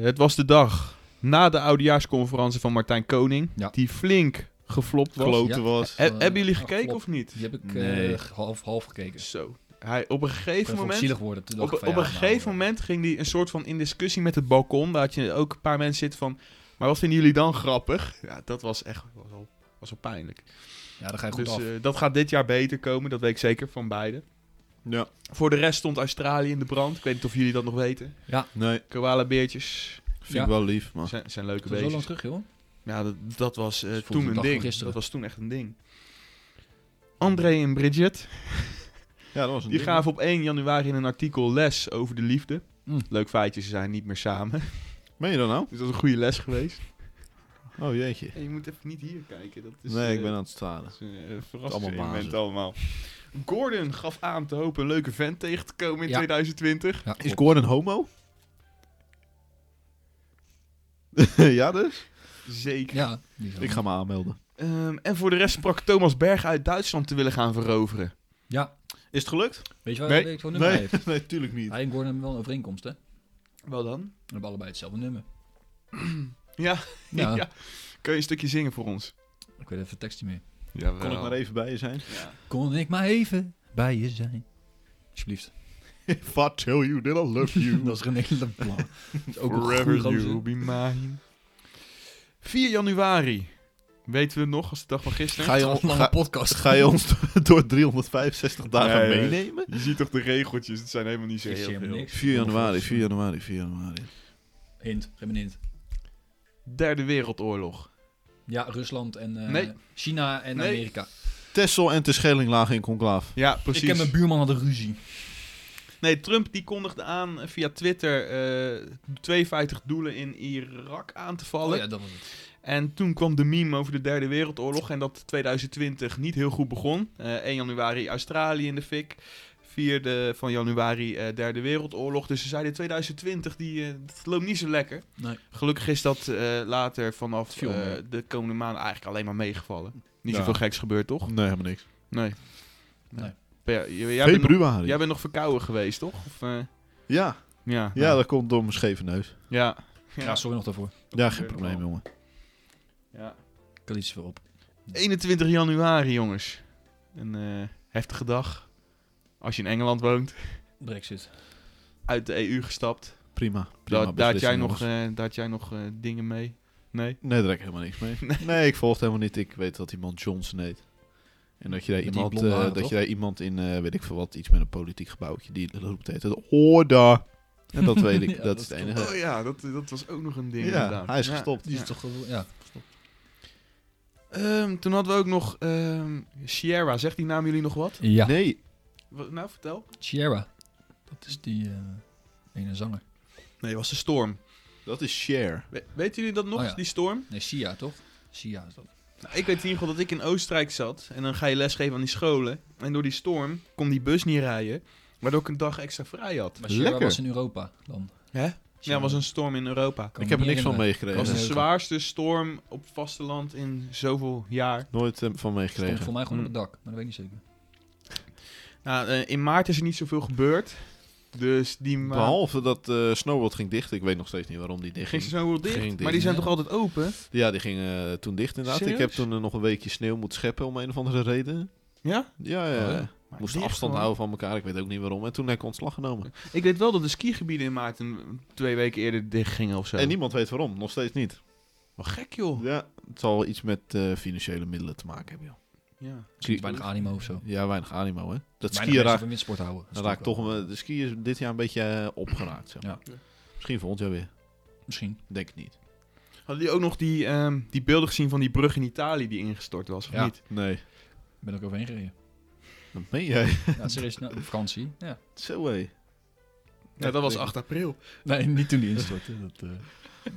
S1: het was de dag na de oudejaarsconferentie van Martijn Koning.
S2: Ja.
S1: Die flink geflopt was.
S3: Klote
S2: Ja.
S3: was.
S1: He-
S2: Eh,
S1: hebben jullie
S2: ah,
S1: gekeken
S2: flop.
S1: of niet?
S2: Die heb ik eh,
S3: Nee.
S2: half, half gekeken.
S1: Zo. Hij, op een
S2: Ik
S1: gegeven
S2: vond het
S1: moment...
S2: zielig worden. Toen dacht
S1: Op,
S2: ik van,
S1: op
S2: ja,
S1: een
S2: nou,
S1: gegeven moment ging hij een soort van in discussie met het balkon. Daar had je ook een paar mensen zitten van... Maar wat vinden jullie dan grappig? Ja, dat was echt... Was al, was al pijnlijk.
S2: Ja, dan ga je goed
S1: Dus
S2: af.
S1: eh, dat gaat dit jaar beter komen. Dat weet ik zeker van beide.
S3: Ja.
S1: Voor de rest stond Australië in de brand. Ik weet niet of jullie dat nog weten.
S3: Nee,
S1: Koala-beertjes
S3: vind
S2: Ja.
S3: ik wel lief, maar...
S1: zijn, zijn leuke
S2: Oh. Dat is zo lang
S1: beestjes.
S2: terug, joh.
S1: Ja, dat, dat was eh,
S2: Dat is volgens
S1: toen
S2: de
S1: een
S2: dag
S1: ding.
S2: van gisteren.
S1: Dat was toen echt een ding. André en Bridget,
S3: Ja, dat was een
S1: die
S3: ding.
S1: gaven op 1 januari in een artikel les over de liefde.
S2: Mm.
S1: Leuk feitje, ze zijn niet meer samen.
S3: Meen je dat nou?
S1: Dus dat is een goede les geweest.
S3: Oh, jeetje.
S1: En je moet even niet hier kijken. Dat is,
S3: nee, ik
S1: eh,
S3: ben aan het stralen.
S1: dat is een eh, verrassend
S3: Allemaal
S1: element
S3: bazen.
S1: allemaal. Gordon gaf aan te hopen een leuke vent tegen te komen in
S2: Ja.
S1: 2020.
S2: Ja,
S3: Is
S2: klopt.
S3: Gordon homo? ja, dus?
S1: Zeker.
S2: Ja, die is
S3: Ik ga me aanmelden.
S1: Ehm, en voor de rest sprak Thomas Berg uit Duitsland te willen gaan veroveren.
S2: Ja,
S3: Is het gelukt?
S2: weet je waar
S1: Nee.
S2: weet ik wat nummer
S3: Nee,
S2: heeft?
S3: nee, tuurlijk niet.
S2: Hij en Gordon hebben wel een overeenkomst, hè? We
S1: Wel dan?
S2: hebben allebei hetzelfde nummer.
S1: Ja.
S2: Ja,
S1: Ja. Kun je een stukje zingen voor ons?
S2: ik weet even de tekst niet meer.
S1: Ja,
S3: Kon ik maar even bij je zijn?
S2: Kon ik maar even bij je zijn. Alsjeblieft.
S3: If I tell you that I love
S2: Dat
S3: you.
S2: is René Leblanc. Dat is ook een goede
S1: Forever
S2: gozer.
S1: you be mine. 4 januari. Weten we het nog, als de dag van gisteren?
S3: Ga je,
S2: Een
S3: on-
S2: lange
S3: ga-
S2: podcast.
S3: ga je ons door 365 dagen
S1: Nee, nee.
S3: meenemen?
S1: Je ziet toch de regeltjes, het zijn helemaal niet zo
S2: Ik zie
S1: heel
S2: helemaal
S1: veel.
S2: niks.
S3: 4 januari, 4 januari, 4 januari.
S2: Hint, geef me een hint.
S1: Derde Wereldoorlog.
S2: Ja, Rusland en eh,
S1: Nee.
S2: China en
S1: Nee.
S2: Amerika.
S3: Tessel en Terschelling lagen in conclaaf.
S1: Ja, precies.
S2: Ik en mijn buurman hadden ruzie.
S1: Nee, Trump die kondigde aan eh, via Twitter eh 52 doelen in Irak aan te vallen.
S2: Oh ja, dat was het.
S1: En toen kwam de meme over de Derde Wereldoorlog en dat 2020 niet heel goed begon. Eh, 1 januari Australië in de fik. 4 van januari eh, Derde Wereldoorlog. Dus ze zeiden 2020, die, eh, dat loopt niet zo lekker.
S2: Nee.
S1: Gelukkig is dat eh, later vanaf
S2: Viel
S1: eh,
S2: mee.
S1: de komende maanden eigenlijk alleen maar meegevallen. Niet
S3: Ja.
S1: zoveel geks gebeurd, toch?
S3: Nee, helemaal niks.
S1: Nee.
S2: Nee.
S1: Ja, j- jij, bent nog,
S3: Februari.
S1: jij bent nog verkouden geweest, toch? Of, eh,
S3: Ja,
S1: ja,
S3: ja, dat komt door mijn scheve neus.
S1: ja.
S2: Ja. sorry nog daarvoor.
S3: Ja, geen probleem, jongen.
S1: Ja.
S2: Ik had iets voor op.
S1: 21 januari, jongens. Een eh, heftige dag. Als je in Engeland woont,
S2: Brexit.
S1: uit de EU gestapt.
S3: Prima.
S1: Da-
S3: prima
S1: daar, had
S3: beslissing,
S1: jij
S3: jongens.
S1: nog, eh, daar had jij nog eh, dingen mee? Nee?
S3: Nee, daar heb ik helemaal niks mee.
S1: Nee.
S3: Nee. ik volg helemaal niet. Ik weet dat iemand Johnson heet. En dat je daar,
S2: Met die
S3: iemand,
S2: blonde
S3: eh,
S2: haren,
S3: dat
S2: toch?
S3: je daar iemand in, eh, weet ik veel wat, iets met een politiek gebouwtje, die roept heet het Orde. En dat weet ik,
S2: Ja,
S3: dat,
S2: dat
S3: is het
S2: klopt.
S3: enige.
S1: Oh ja, dat, dat was ook nog een ding
S3: Ja, hij is gestopt.
S2: Die is
S1: Ja.
S2: toch wel... Ja.
S1: Ehm, toen hadden we ook nog ehm Sierra. Zegt die naam jullie nog wat?
S2: Ja.
S3: Nee,
S1: Wat- Nou, vertel.
S2: Sierra. Dat is die eh, ene zanger.
S1: Nee, was de storm.
S3: dat is Share.
S1: We- weten jullie dat nog,
S2: Oh ja.
S1: die storm?
S2: Nee, Sia, toch? Sia is dat.
S1: Nou, ik weet in ieder geval dat ik in Oostenrijk zat. En dan ga je lesgeven aan die scholen. En door die storm kon die bus niet rijden. Waardoor ik een dag extra vrij had.
S2: Maar Sierra
S3: Lekker.
S2: was in Europa dan.
S1: Hè? Ja,
S2: Sierra-
S1: was een storm in Europa.
S2: Kan
S3: ik
S2: me
S3: heb
S2: niet
S3: er niks van
S2: herinneren.
S1: Het
S3: meegekregen.
S1: was de
S2: Nee, oké.
S1: zwaarste storm op vasteland in zoveel jaar.
S3: Nooit eh, van
S2: Stond
S3: meegekregen.
S2: voor mij gewoon op
S1: Mm.
S2: het dak, maar dat weet ik niet zeker.
S1: Nou, eh, in maart is er niet zoveel gebeurd. Dus die ma-
S3: Behalve dat eh Snowworld ging dicht. Ik weet nog steeds niet waarom die dicht
S1: Ging
S3: ging.
S1: ze zo wel dicht?
S3: Ging
S1: maar
S3: dicht.
S1: die zijn
S2: Ja.
S1: toch altijd open?
S3: Ja, die ging eh, toen dicht inderdaad. Ik heb
S1: Serieus?
S3: toen eh, nog een weekje sneeuw moeten scheppen om een of andere reden.
S1: Ja?
S3: Ja, ja.
S2: Oh, ja.
S3: ja.
S1: Maar
S3: Moest
S1: dicht,
S3: Eh, afstand
S1: man.
S3: houden van elkaar. Ik weet ook niet waarom. En toen heb ik ontslag genomen.
S1: Ik weet wel dat de skigebieden in maart een- twee weken eerder dicht gingen of zo.
S3: En niemand weet waarom. Nog steeds niet.
S1: Wat gek, joh.
S3: Ja, het zal iets met eh, financiële middelen te maken hebben, joh.
S1: Ja.
S2: Misschien weinig animo of zo.
S3: Ja, weinig animo, hè.
S2: Weinig
S3: Dat skiën
S2: mensen
S3: raakt,
S2: van windsport houden. Dat is
S3: raakt
S2: wel-
S3: toch... een- De ski is dit jaar een beetje eh, opgeraakt, zo.
S2: Ja.
S1: Ja.
S3: Misschien volgend jaar weer.
S2: Misschien.
S3: Denk ik niet.
S1: Hadden jullie ook nog die, ehm, die beelden gezien van die brug in Italië die ingestort was, of
S2: Ja.
S1: niet?
S3: Nee.
S2: Ik ben ook overheen gereden.
S3: Dat meen jij.
S2: Ja, serieus. Nou, op vakantie. Ja.
S3: Zo, hé.
S1: Ja, dat was 8 april.
S2: Nee, niet toen die instortte. Dat, eh,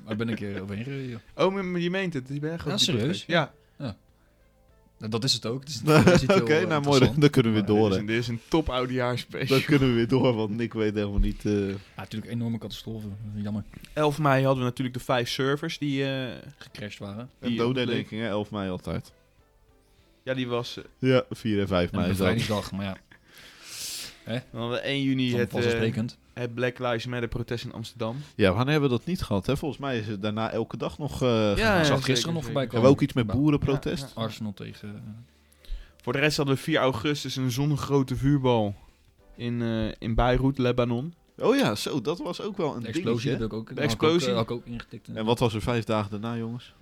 S2: Maar ik ben een keer overheen gereden. joh.
S1: Oh, maar- maar je meent het. Je bent echt
S2: Ja,
S1: op die brug
S2: serieus?
S1: geweest. Ja.
S2: Nou, Dat is het ook. Het is- het is niet
S3: Oké,
S2: heel, eh,
S3: nou mooi. Dan,
S2: interessant.
S3: dan kunnen we weer
S1: Dit
S3: door,
S1: is
S3: hè.
S1: een, dit is een top oudejaarspecial.
S3: Dan kunnen we weer door, want Nick weet helemaal niet... eh,
S2: Ja, natuurlijk enorme catastrofe. Jammer.
S1: 11 mei hadden we natuurlijk de vijf servers die... eh,
S2: Gecrashed waren.
S3: Een
S1: Die
S3: dodendenking, hè? 11 mei altijd.
S1: ja, die was... eh,
S3: Ja, 4 en 5
S2: En een
S3: mei is dat.
S2: bevrijdingsdag. Maar ja,
S1: Dan hadden we 1 juni
S2: dan
S1: het, eh,
S2: vanzelfsprekend.
S1: het Black Lives Matter protest in Amsterdam.
S3: Ja, wanneer hebben we dat niet gehad, hè? Volgens mij is het daarna elke dag nog... eh
S1: Ja,
S2: Ik
S1: ja.
S3: ja.
S2: zag
S1: zeker,
S2: gisteren nog
S1: zeker.
S2: voorbij komen.
S3: Hebben we ook iets met boerenprotest?
S1: Ja, ja.
S2: Arsenal tegen... eh,
S1: Voor de rest hadden we 4 augustus een zonnegrote vuurbal in, eh in Beirut, Lebanon.
S3: Oh ja, zo, dat was ook wel een
S2: de explosie
S3: dingetje.
S2: heb ik ook. De
S1: explosie.
S2: Had ik ook ingetikt.
S3: En wat was er vijf dagen daarna, jongens?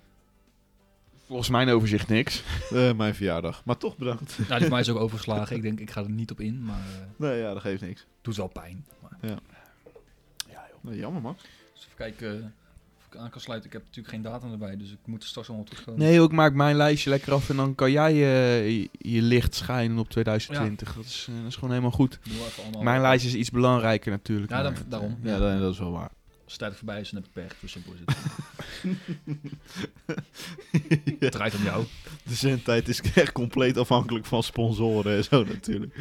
S1: Volgens mijn overzicht niks.
S3: Eh, mijn verjaardag. Maar toch bedankt.
S2: Nou, die van mij is ook overgeslagen. Ik denk, ik ga er niet op in, maar eh,
S3: Nee, ja, dat geeft niks.
S2: doet wel pijn. Maar,
S3: Nee, jammer, man.
S2: dus even kijken eh, of ik aan kan sluiten. Ik heb natuurlijk geen datum erbij, dus ik moet er straks allemaal op terugkomen.
S1: Nee, ik maak mijn lijstje lekker af en dan kan jij eh, je, je licht schijnen op 2020. Dat, is, eh, dat is gewoon helemaal goed.
S2: Doe even allemaal.
S1: Mijn lijstje is iets belangrijker natuurlijk.
S2: Ja, dan-
S1: maar- eh,
S2: daarom.
S3: Ja, nee, dat is wel waar.
S2: Als de tijd voorbij is, dan heb ik pech. Zo simpel is het. Het draait om jou.
S3: De zendtijd is echt compleet afhankelijk van sponsoren en zo natuurlijk.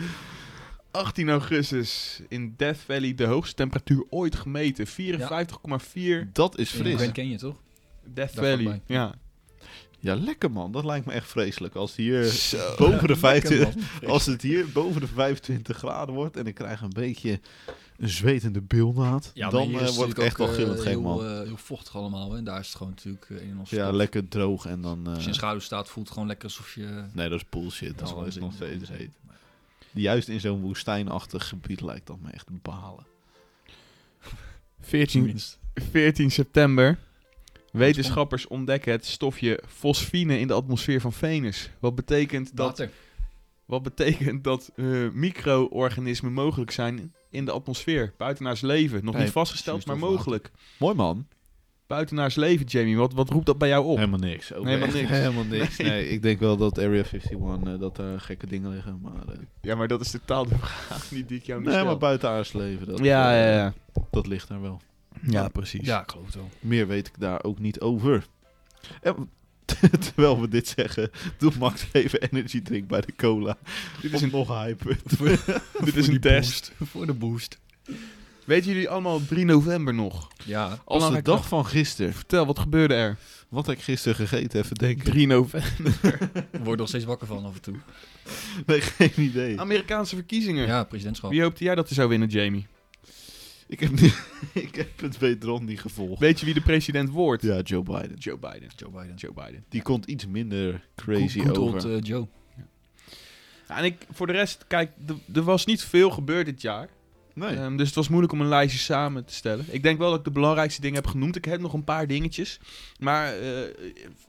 S1: 18 augustus in Death Valley de hoogste temperatuur ooit gemeten. 54,4
S3: Dat is
S2: Fris.
S3: fris.
S2: ken je toch?
S1: Death
S2: Daar
S1: Valley.
S2: vlakbij.
S1: Ja.
S3: Ja, lekker man. Dat lijkt me echt vreselijk. Als hier
S1: Zo.
S3: boven de 25...
S2: Ken dat.
S3: Als het hier boven de 25 graden wordt en ik krijg een beetje een zwetende bilnaad,
S2: Ja, maar
S3: dan
S2: hier
S3: eh,
S2: is het
S3: word ik
S2: natuurlijk
S3: echt wel
S2: ook, eh,
S3: gillend gek, man.
S2: Heel, eh, heel vochtig allemaal. Hè? En daar is het gewoon natuurlijk eh, een en ander
S3: ja,
S2: stof.
S3: lekker droog en dan... eh,
S2: Als je in schaduw staat, voelt het gewoon lekker alsof je...
S3: nee, dat is bullshit. Oh, Dat
S2: wel
S3: is
S2: een
S3: nog
S2: ding.
S3: steeds heet. Juist in zo'n woestijnachtig gebied lijkt dat me echt balen.
S1: 14,
S2: Tenminste.
S1: 14 september. Wetenschappers ontdekken het stofje fosfine in de atmosfeer van Venus. Wat betekent dat
S2: Water.
S1: Wat betekent dat eh, micro-organismen mogelijk zijn in de atmosfeer, buitenaars leven. Nog
S3: Nee,
S1: niet vastgesteld, maar
S2: precies, toch,
S1: mogelijk.
S3: Mooi man.
S1: Buitenaars leven, Jamie. Wat, wat roept dat bij jou op?
S3: Helemaal niks. Ook
S1: Helemaal
S3: echt
S1: niks.
S3: Helemaal niks. Nee. ik denk wel dat Area 51, eh, dat daar gekke dingen liggen. Maar, eh,
S1: Ja, maar dat is totaal de vraag niet die ik jou nu
S3: nee, maar
S1: stel.
S3: buitenaards leven, dat,
S1: ja,
S3: eh,
S1: ja, ja.
S3: dat ligt daar wel.
S1: ja, precies.
S2: Ja, ik geloof het wel.
S3: Meer weet ik daar ook niet over. En, terwijl we dit zeggen, doet Max even energy drink bij de cola.
S1: Dit
S3: Om
S1: is een,
S3: nog hype.
S1: dit is een test.
S2: Voor de boost.
S1: Weten jullie allemaal 3 november nog?
S2: Ja.
S3: Als de
S1: Belangrijk
S3: dag
S1: nog.
S3: van gisteren.
S1: Vertel, wat gebeurde er?
S3: Wat heb ik gisteren gegeten? Even denken.
S1: 3 november.
S2: Ik word er nog steeds wakker van af en toe.
S3: Nee, geen idee.
S1: Amerikaanse verkiezingen.
S2: Ja, presidentschap.
S1: Wie hoopte jij dat hij zou winnen, Jamie?
S3: Ik heb, niet, ik heb het wederom niet gevolgd.
S1: Weet je wie de president wordt?
S3: Ja, Joe Biden.
S1: Joe Biden.
S2: Joe Biden.
S1: Joe Biden.
S3: Die komt iets minder crazy
S2: Good old,
S3: over.
S2: eh, Joe.
S1: Ja, en ik, voor de rest, kijk, d- er was niet veel gebeurd dit jaar.
S3: nee.
S1: Ehm, dus het was moeilijk om een lijstje samen te stellen. Ik denk wel dat ik de belangrijkste dingen heb genoemd. Ik heb nog een paar dingetjes. Maar eh,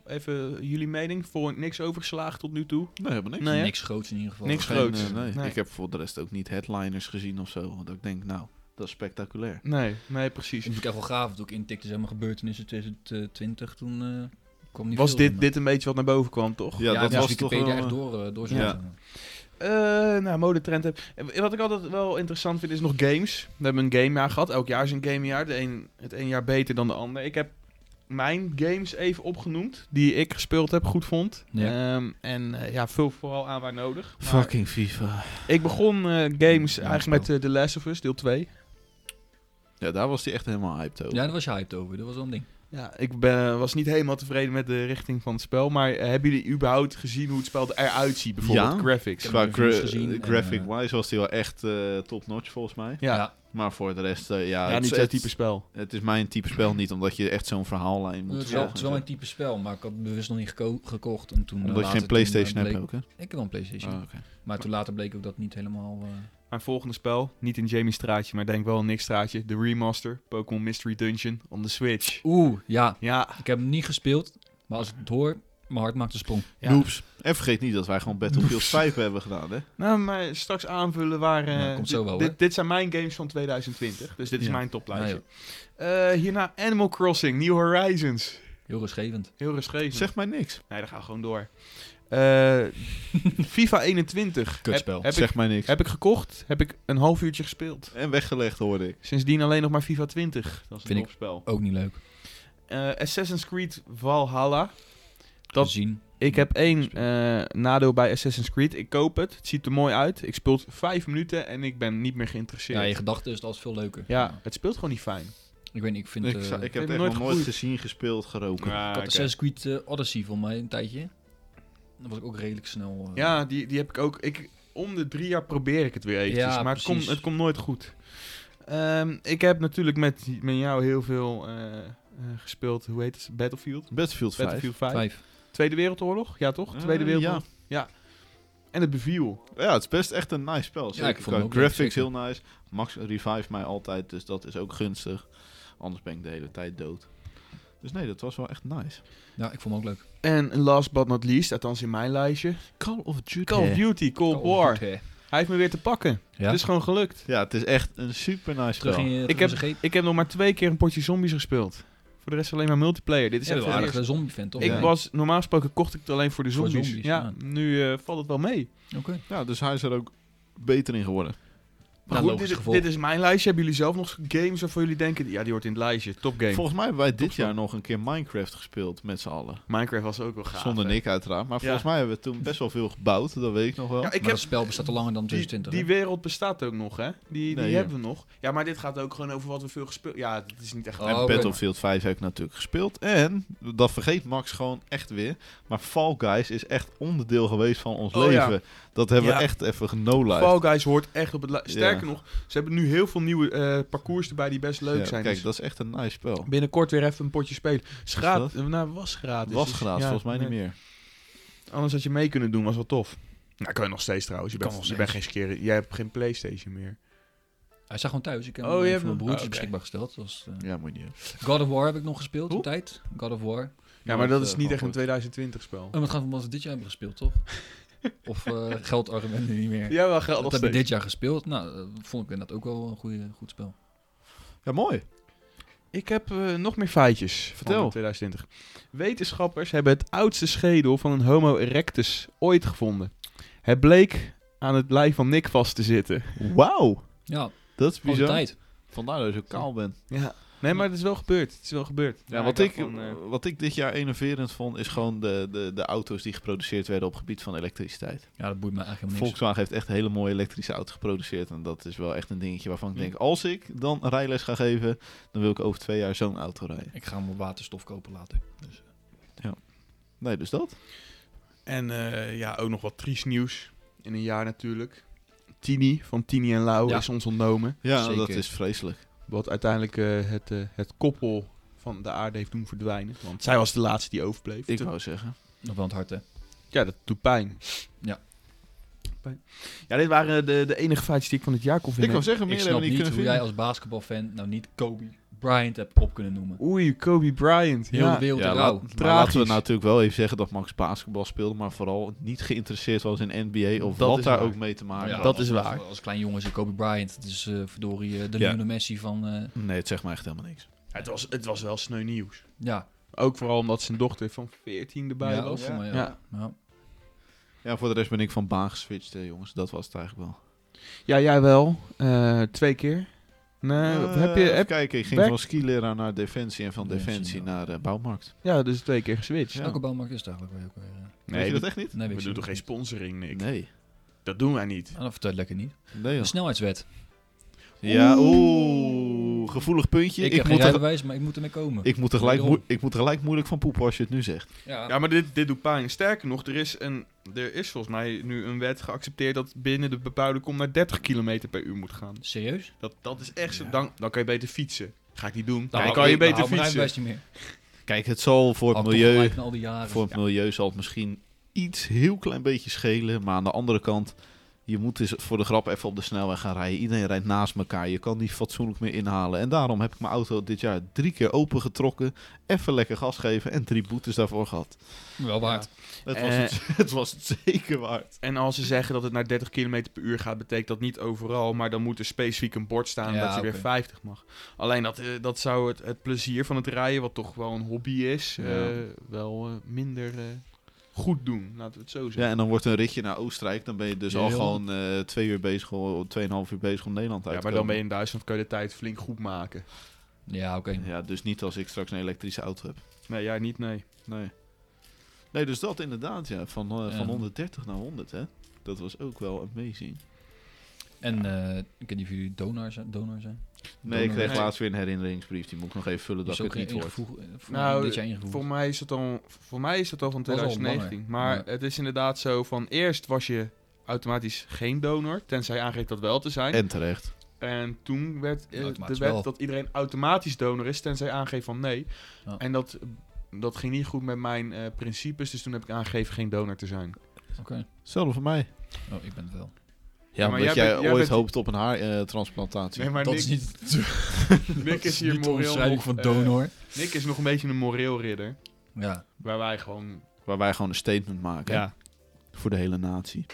S1: even jullie mening. Voor niks overgeslagen tot nu toe.
S3: nee, helemaal niks.
S1: Nee, hè?
S2: Niks groots in ieder geval.
S1: Niks
S3: Geen,
S1: groots.
S3: eh, nee.
S1: Nee.
S3: Ik heb voor de rest ook niet headliners gezien of zo. Want ik denk, nou, dat is spectaculair.
S1: Nee, nee, precies.
S2: Dat vind ik echt wel gaaf. Toen ik intikte, zeg maar, gebeurtenissen 2020, toen eh, kwam niet
S1: Was
S2: veel
S1: dit,
S2: van,
S1: dit een beetje wat naar boven kwam, toch?
S3: Ja, dat
S2: ja, dus
S3: was toch
S2: Wikipedia
S3: wel...
S2: echt
S3: eh,
S2: door, eh, door
S3: Ja.
S2: zo'n-
S1: Eh, nou, modetrend heb. En Wat ik altijd wel interessant vind is nog games. We hebben een gamejaar gehad. Elk jaar is een gamejaar. De een, het een jaar beter dan de ander. Ik heb mijn games even opgenoemd. Die ik gespeeld heb, goed vond.
S2: Ja.
S1: Ehm, en eh, ja, vul vooral aan waar nodig. Maar
S3: Fucking FIFA.
S1: Ik begon eh, games
S2: Ja,
S1: eigenlijk met
S2: spel.
S1: eh, The Last of Us, deel 2.
S3: Ja, daar was hij echt helemaal hyped over.
S2: Ja, daar was je hyped over. Dat was wel een ding.
S1: Ja, ik ben, was niet helemaal tevreden met de richting van het spel. Maar eh, hebben jullie überhaupt gezien hoe het spel eruit ziet? Bijvoorbeeld
S3: Ja.
S1: graphics.
S2: Ik heb
S3: Qua
S2: de reviews
S3: gra-
S2: gezien en,
S3: graphic-wise was hij wel echt eh, top-notch volgens mij.
S1: Ja, ja,
S2: Ja.
S3: Maar voor de rest, eh, ja,
S1: niet
S3: is,
S1: het type spel.
S3: het is mijn type spel niet, omdat je echt zo'n verhaallijn moet
S2: Het is, wel,
S3: volgen
S2: het is wel
S3: en
S2: een
S3: zo.
S2: type spel, maar ik had het bewust nog niet geko- gekocht. En toen, eh,
S3: Omdat je
S2: later
S3: geen PlayStation
S2: toen, eh,
S3: hebt
S2: bleek-
S3: ook, hè?
S2: Ik heb wel een PlayStation.
S3: Ah, oké.
S2: Maar toen later bleek ook dat niet helemaal... eh,
S1: Mijn volgende spel, niet in Jamie's straatje, maar denk wel in Nick's straatje. De remaster, Pokémon Mystery Dungeon on de Switch.
S2: Oeh, ja.
S1: Ja,
S2: Ik heb hem niet gespeeld, maar als ik het hoor, mijn hart maakt een sprong.
S1: Ja.
S3: Noobs. En vergeet niet dat wij gewoon Battlefield 5 hebben gedaan, hè?
S1: nou, maar straks aanvullen waar... eh,
S2: Ja, Nou, komt zo
S1: dit-
S2: wel,
S1: dit,
S2: hoor.
S1: dit zijn mijn games van 2020, dus dit is
S3: Ja.
S1: mijn toplijstje.
S2: Ja, Nou,
S1: Eh, hierna Animal Crossing, New Horizons.
S2: Heel rustgevend.
S1: Heel rustgevend.
S3: Zeg mij niks.
S1: Nee, dan gaan we gewoon door. Eh, FIFA 21.
S2: Kutspel.
S1: Heb, heb,
S3: zeg
S1: ik,
S3: mij niks.
S1: heb ik gekocht, heb ik een half uurtje gespeeld.
S3: En weggelegd, hoorde ik.
S1: Sindsdien alleen nog maar FIFA 20. Dat is
S2: Vind
S1: een
S2: ik-
S1: topspel.
S2: Ook niet leuk.
S1: Eh, Assassin's Creed Valhalla. Dat-
S2: Dat zien.
S1: Ik heb één eh, nadeel bij Assassin's Creed. Ik koop het, het ziet er mooi uit. Ik speel het vijf minuten en ik ben niet meer geïnteresseerd.
S2: Ja, je gedachten is het altijd veel leuker.
S1: Ja, het speelt gewoon niet fijn.
S2: Ik weet niet, ik vind...
S3: Ik,
S2: eh,
S3: zou- ik
S2: ik
S1: heb
S3: heb het echt
S1: nooit
S3: nog nooit
S1: gegroeid.
S3: gezien, gespeeld, geroken.
S1: Ja,
S2: had
S1: oké.
S2: Assassin's Creed eh, Odyssey voor mij een tijdje. Dat was ik ook redelijk snel. eh,
S1: Ja, die, die heb ik ook. Ik, om de drie jaar probeer ik het weer eventjes,
S2: Ja,
S1: maar het komt
S2: precies.
S1: het komt nooit goed. Ehm, ik heb natuurlijk met, met jou heel veel eh, eh, gespeeld. Hoe heet het? Battlefield?
S3: Battlefield 5.
S1: Battlefield 5.
S2: Vijf.
S1: Tweede Wereldoorlog? Ja, toch?
S3: Eh,
S1: Tweede
S3: ja.
S1: Wereldoorlog. ja. En het beviel.
S3: Ja, het is best echt een nice spel. Zeker.
S2: ik vond hem
S3: Qua
S2: ook leuk,
S3: graphics
S2: zeker.
S3: heel nice. Max revive mij altijd, dus dat is ook gunstig. Anders ben ik de hele tijd dood. Dus nee, dat was wel echt nice.
S2: Ja, ik vond hem ook leuk.
S1: En last but not least, althans in mijn lijstje,
S3: Call of Duty.
S1: Call of Duty Cold
S2: Oh,
S1: War.
S2: goed, hè.
S1: Hij heeft me weer te pakken.
S2: Ja.
S1: Het is gewoon gelukt.
S3: Ja, het is echt een super nice spel.
S2: terug in je...
S1: Ik
S2: Ik
S1: heb-
S2: heb... Dit
S1: Ik heb nog maar twee keer een potje zombies gespeeld. Voor de rest alleen maar multiplayer. Dit is
S2: is een
S1: echt het
S2: aardige
S1: eerste.
S2: eh, zombie fan, toch?
S1: Ik
S3: Ja.
S1: was, normaal gesproken kocht ik het alleen voor de
S2: Voor
S1: zombies.
S2: zombies,
S1: ja,
S2: ja.
S1: nu eh, valt het wel mee.
S2: Oké.
S3: Ja, dus hij is er ook beter in geworden.
S1: Maar
S2: Nou,
S1: goed,
S2: logisch
S1: dit,
S2: gevolg.
S1: dit is mijn lijstje. Hebben jullie zelf nog games waarvan jullie denken... Ja, die hoort in het lijstje. Topgame.
S3: Volgens mij hebben wij dit
S1: Topspel.
S3: jaar nog een keer Minecraft gespeeld met z'n allen.
S1: Minecraft was ook wel gaaf.
S3: Zonder
S1: hè.
S3: Nick uiteraard. Maar
S1: Ja.
S3: volgens mij hebben we toen best wel veel gebouwd. Dat weet ik nog wel.
S1: Ja, ik
S2: maar
S1: heb,
S2: dat spel bestaat al langer dan
S1: die,
S2: 2020.
S1: die wereld bestaat ook nog, hè? Die,
S3: Nee,
S1: die
S3: ja.
S1: hebben we nog. Ja, maar dit gaat ook gewoon over wat we veel gespeeld... Ja, het is niet echt...
S2: Oh,
S3: en
S2: oké.
S3: Battlefield 5 heb ik natuurlijk gespeeld. En, dat vergeet Max gewoon echt weer. Maar Fall Guys is echt onderdeel geweest van ons
S1: Oh, ja.
S3: leven. Dat hebben
S1: Ja.
S3: we echt even genolight.
S1: Fall Guys hoort echt op het lijstje.
S3: Ja.
S1: Sterker nog, ze hebben nu heel veel nieuwe eh, parcours erbij die best leuk
S3: Ja,
S1: zijn.
S3: Kijk,
S1: Dus-
S3: dat is echt een nice spel.
S1: binnenkort weer even een potje spelen. Schaat,
S3: Is
S1: nou, was gratis.
S3: was
S1: Dus,
S3: gratis,
S1: ja,
S3: volgens mij niet
S1: nee.
S3: meer.
S1: Anders had je mee kunnen doen, was wel tof. Nou, kan je nog steeds trouwens. Je,
S2: Kan
S1: bent,
S2: nog
S1: je bent geen skeren. Jij hebt geen PlayStation meer.
S2: Hij zag gewoon thuis. Ik heb
S1: Oh,
S2: hem
S1: je
S2: eh,
S1: hebt
S2: voor mijn
S1: hem- oh,
S2: broertjes
S1: oké.
S2: beschikbaar gesteld. Dat was, eh,
S3: Ja, moet je niet.
S2: God of War heb ik nog gespeeld
S1: Hoe?
S2: een tijd. God of War.
S1: Ja, maar dat is
S3: eh,
S1: niet
S3: wel
S1: echt een
S3: goed.
S1: 2020 spel.
S2: Oh, maar het gaat om wat we dit jaar hebben gespeeld, toch? of eh geldargumenten niet meer.
S1: Ja, wel geld
S2: dat
S1: nog
S2: hebben we
S1: steeds.
S2: dit jaar gespeeld. Nou, dat vond ik inderdaad ook wel een goede, goed spel.
S3: Ja, mooi.
S1: Ik heb eh, nog meer feitjes
S3: Vertel.
S1: van 2020. Wetenschappers hebben het oudste schedel van een homo erectus ooit gevonden. Het bleek aan het lijf van Nick vast te zitten.
S3: Wauw.
S2: Ja,
S3: Dat is
S2: van de
S3: bizar.
S2: tijd.
S3: Vandaar dat je zo kaal bent.
S1: Ja. Nee, maar het is wel gebeurd. Het is wel gebeurd.
S3: Ja, wat, ik,
S1: dacht van, eh,
S3: wat ik dit jaar enerverend vond, is gewoon de, de, de auto's die geproduceerd werden op het gebied van elektriciteit.
S2: Ja, dat boeit me eigenlijk helemaal niks.
S3: Volkswagen heeft echt hele mooie elektrische auto's geproduceerd. En dat is wel echt een dingetje waarvan ik
S1: Hm.
S3: denk, als ik dan rijles ga geven, dan wil ik over twee jaar zo'n auto rijden.
S2: Ik ga hem op waterstof kopen later. Dus,
S3: Nee, dus dat.
S1: En eh, ja, ook nog wat triest nieuws in een jaar natuurlijk. Tini van Tini en Lau
S2: Ja.
S1: is ons ontnomen.
S3: Ja,
S2: Zeker.
S3: dat is vreselijk.
S1: Wat uiteindelijk eh, het, eh, het koppel van de aarde heeft doen verdwijnen. Want zij was de laatste die overbleef.
S3: Ik
S1: Toen-
S3: wou zeggen.
S2: nog wel aan het hart, hè?
S1: Ja, dat doet pijn.
S2: Ja.
S1: Pijn. Ja, dit waren de, de enige feitjes die ik van het jaar kon
S3: Ik
S1: vinden.
S3: wou zeggen,
S2: Ik
S3: meer
S2: snap
S3: hebben we
S2: niet
S3: niet
S2: hoe
S3: kunnen
S2: jij
S3: vinden.
S2: als basketbalfan nou niet Kobe Bryant hebt op kunnen noemen.
S1: Oei, Kobe Bryant.
S2: Heel de
S1: ja.
S2: wereld
S3: Ja,
S2: in
S3: laat-
S2: rouw.
S3: maar laten we
S1: Tragisch.
S3: natuurlijk wel even zeggen dat Max basketbal speelde, maar vooral niet geïnteresseerd was in NBA of
S1: Dat
S3: wat
S1: is
S3: daar
S1: waar.
S3: ook mee te maken
S2: Ja,
S3: had.
S1: dat
S2: als-
S1: is waar.
S2: Als, als klein jongen is Kobe Bryant. Het is eh, verdorie eh, de
S3: Ja.
S2: Lionel Messi van... eh,
S3: Nee, het zegt mij echt helemaal niks.
S1: Het, was, het was wel sneu nieuws.
S2: ja,
S1: Ook vooral omdat zijn dochter van 14 erbij
S2: ja, ook
S1: was.
S2: voor mij, ja.
S1: Ja.
S2: Ja.
S3: Ja, voor de rest ben ik van baan geswitcht, eh, jongens. Dat was het eigenlijk wel.
S1: Ja, jij wel. Eh, twee keer. Nee,
S3: Eh,
S1: heb je,
S3: even
S1: heb,
S3: kijken, ik ging
S1: Back-
S3: van skileraar naar defensie en van
S2: Defensie,
S3: defensie
S2: ja.
S3: naar eh, bouwmarkt.
S1: ja, dus twee keer geswitcht.
S3: Ja.
S2: Welke bouwmarkt is het eigenlijk? Weet ik ook weer, eh.
S3: Weet je dat echt niet?
S2: Nee, weet ik
S1: We doen
S2: zo
S1: toch geen
S2: niet.
S1: sponsoring, Nick?
S3: Nee.
S1: Dat doen wij niet.
S2: Ah, dat vertelt lekker niet.
S3: Nee,
S2: De
S3: joh.
S2: snelheidswet.
S3: Ja,
S1: Oeh.
S3: oeh. gevoelig puntje.
S2: Ik,
S3: Ik,
S2: heb geen
S3: moet er,
S2: rijbewijs, maar ik moet ermee komen.
S3: ik, moet er gelijk
S2: Wederom.
S3: moe- ik moet er gelijk moeilijk van poepen als je het nu zegt.
S2: ja.
S1: Ja, maar dit, dit doet pijn. Sterker nog, er is, een, er is volgens mij nu een wet geaccepteerd dat binnen de bebouwde kom naar 30 km per uur moet gaan.
S2: Serieus?
S1: Dat, dat is echt zo.
S2: Ja.
S1: Dan, dan kan je beter fietsen. Ga ik niet doen. Dan,
S2: hou-
S1: kan je
S2: dan
S1: beter
S2: hou Nou, ik mijn
S1: fietsen.
S2: rijbewijs niet meer.
S3: Kijk, het zal voor
S2: Had
S3: het
S2: toch
S3: milieu,
S2: gelijk na al die jaren.
S3: voor het milieu zal het misschien iets heel klein beetje schelen. Maar aan de andere kant, je moet eens voor de grap even op de snelweg gaan rijden. Iedereen rijdt naast elkaar. Je kan niet fatsoenlijk meer inhalen. En daarom heb ik mijn auto dit jaar drie keer opengetrokken. Even lekker gas geven en drie boetes daarvoor gehad.
S2: Wel waard.
S3: Het
S2: Eh.
S3: was, het, het was het zeker waard.
S1: En als ze zeggen dat het naar 30 km per uur gaat, betekent dat niet overal. Maar dan moet er specifiek een bord staan
S2: Ja,
S1: dat je
S2: oké.
S1: weer 50 mag. Alleen dat, eh, dat zou het, het plezier van het rijden, wat toch wel een hobby is,
S3: Ja.
S1: eh, wel eh, minder eh, goed doen. Laten we het zo zeggen.
S3: Ja, en dan wordt een ritje naar Oostenrijk. Dan ben je dus al
S2: Heel.
S3: gewoon eh, twee uur bezig, om- tweeënhalf uur bezig om Nederland
S1: Ja,
S3: uit te
S1: maar dan ben
S3: komen.
S1: je in Duitsland, kan je de tijd flink goed maken.
S2: Ja, oké.
S3: Ja, dus niet als ik straks een elektrische auto heb.
S1: Nee, jij niet, nee.
S3: Nee. Nee, dus dat inderdaad, ja. Van, eh,
S2: Ja.
S3: van 130 naar 100, hè. Dat was ook wel amazing.
S2: En eh, ik weet niet of jullie donor zijn. Donor zijn.
S3: Nee, ik
S2: Donor.
S3: kreeg
S1: Nee.
S3: laatst weer een herinneringsbrief. Die moet ik nog even vullen
S2: Die
S3: dat
S2: is
S3: ik
S2: ook
S3: het niet word.
S2: ingevoegd. eh, voor-
S1: Nou,
S2: dit jaar ingevoegd.
S1: Voor mij is dat al, voor mij is dat al van
S2: Was al
S1: 2019.
S2: langer,
S1: maar
S2: ja.
S1: het is inderdaad zo van eerst was je automatisch geen donor, tenzij je aangeeft dat wel te zijn. En,
S3: En terecht.
S1: toen werd eh, de
S2: Automatisch
S1: wet
S2: wel.
S1: dat iedereen automatisch donor is, tenzij je aangeeft van nee.
S2: Ja.
S1: En dat, dat ging niet goed met mijn eh, principes, dus toen heb ik aangegeven geen donor te zijn.
S2: Oké.
S3: Hetzelfde voor mij.
S2: Oh, ik ben het wel.
S3: Ja,
S1: maar
S3: omdat jij,
S1: jij bent- jij
S3: ooit
S1: bent-
S3: hoopt op een eh, haartransplantatie.
S1: Nee, maar
S2: dat
S1: Nick,
S2: is niet, dat
S1: Nick is
S2: is
S1: hier
S2: niet de
S1: moreel nog,
S2: omschrijving van
S1: eh,
S2: donor.
S1: Nick is nog een beetje een moreel ridder,
S2: ja.
S1: waar wij gewoon...
S3: waar wij gewoon een statement maken.
S1: Ja.
S3: Voor de hele natie.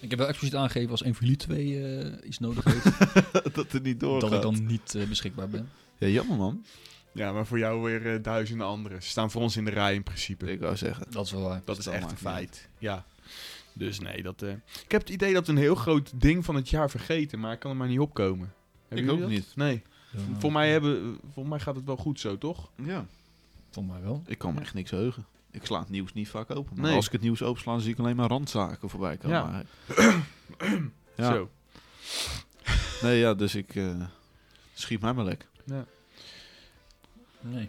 S2: Ik heb wel expliciet aangegeven als een van jullie twee eh, iets nodig heeft,
S3: dat het niet
S2: dat ik
S3: doorgaat.
S2: dan niet eh, beschikbaar ben.
S3: Ja, jammer man.
S1: ja, maar voor jou weer eh, duizenden anderen. Ze staan voor ons in de rij in principe.
S3: Ik wou zeggen.
S2: Dat is wel waar.
S1: Dat is
S3: Dat
S1: echt een
S3: maakt niet
S1: feit. Ja. Dus nee, dat. eh, Ik heb het idee dat we een heel groot ding van het jaar vergeten, maar ik kan er maar niet opkomen. Hebben
S3: Ik
S1: jullie
S3: ook
S1: dat?
S3: niet.
S1: Nee.
S2: Donor.
S1: Voor mij, hebben, voor mij gaat het wel goed zo, toch?
S3: Ja.
S2: Voor mij wel.
S3: Ik kan me echt niks heugen. Ik sla het nieuws niet vaak open. Maar
S1: Nee.
S3: als ik het nieuws opensla, dan zie ik alleen maar randzaken voorbij komen.
S1: Ja.
S3: eigenlijk. ja.
S1: Zo.
S3: Nee, ja, dus ik eh, schiet mij maar lek.
S2: Nee.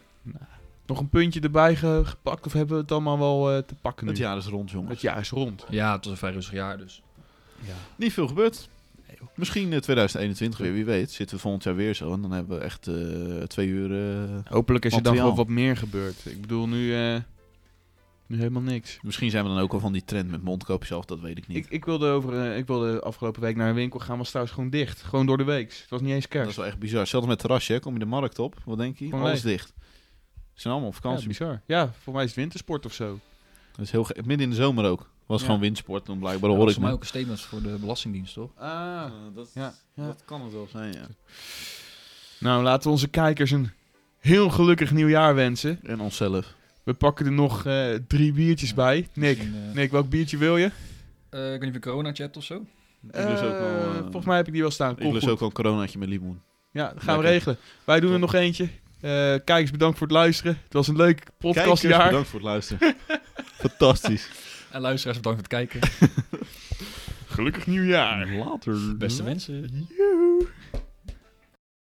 S1: Nog een puntje erbij ge- gepakt of hebben we het allemaal wel eh, te pakken nu?
S3: Het jaar is rond, jongen.
S1: Het jaar is rond.
S2: Ja, het was een vrij rustig jaar dus.
S1: Ja.
S3: Niet veel gebeurd. Misschien eh, 2021 weer, wie weet. Zitten we volgend jaar weer zo. En dan hebben we echt eh, twee uur... eh,
S1: Hopelijk is er dan
S3: Materiaal.
S1: gewoon wat meer gebeurd. Ik bedoel, nu, eh, nu helemaal niks.
S3: misschien zijn we dan ook al van die trend met mondkapjes af. Dat weet ik niet.
S1: Ik, ik, wilde over, eh, ik wilde afgelopen week naar een winkel gaan, was trouwens gewoon dicht. Gewoon door de week. Het was niet eens
S3: dat
S1: kerst.
S3: is wel echt bizar. Zelfs met terrasje. hè. Kom je de markt op. Wat denk je?
S1: Gewoon
S3: Alles dicht. Ze zijn allemaal op
S1: Ja,
S3: vakantie.
S1: bizar. Ja, voor mij is het wintersport of zo.
S3: dat is heel ge- Midden in de zomer ook. Was
S1: Ja.
S3: gewoon windsport. Dan blijkbaar
S2: Dat
S3: hoor
S2: was
S3: ik
S2: voor mij
S3: me.
S2: ook een statement voor de Belastingdienst, toch?
S1: Ah.
S3: dat,
S1: Ja, ja. dat
S3: kan het wel zijn, ja.
S1: Nou, laten we onze kijkers een heel gelukkig nieuwjaar wensen.
S3: En onszelf.
S1: We pakken er nog eh, drie biertjes
S2: Ja,
S1: bij. Nick,
S2: Misschien, eh,
S1: Nick, welk biertje wil je?
S2: eh, ik weet niet of je corona chat of zo.
S3: ik lust ook wel,
S1: Eh,
S3: eh,
S1: volgens mij heb ik die wel staan. Kom,
S3: Ik lust
S1: goed.
S3: ook al een coronaatje met limoen.
S1: Ja, dat gaan we
S3: Lekker.
S1: regelen. Wij doen er nog eentje. Eh, kijkers, bedankt voor het luisteren. Het was een leuk
S3: Kijkers,
S1: podcastjaar.
S3: bedankt voor het luisteren. Fantastisch.
S2: En luisteraars, bedankt voor het kijken.
S1: Gelukkig nieuwjaar.
S3: Later.
S2: Hm? Beste wensen.
S1: Ja.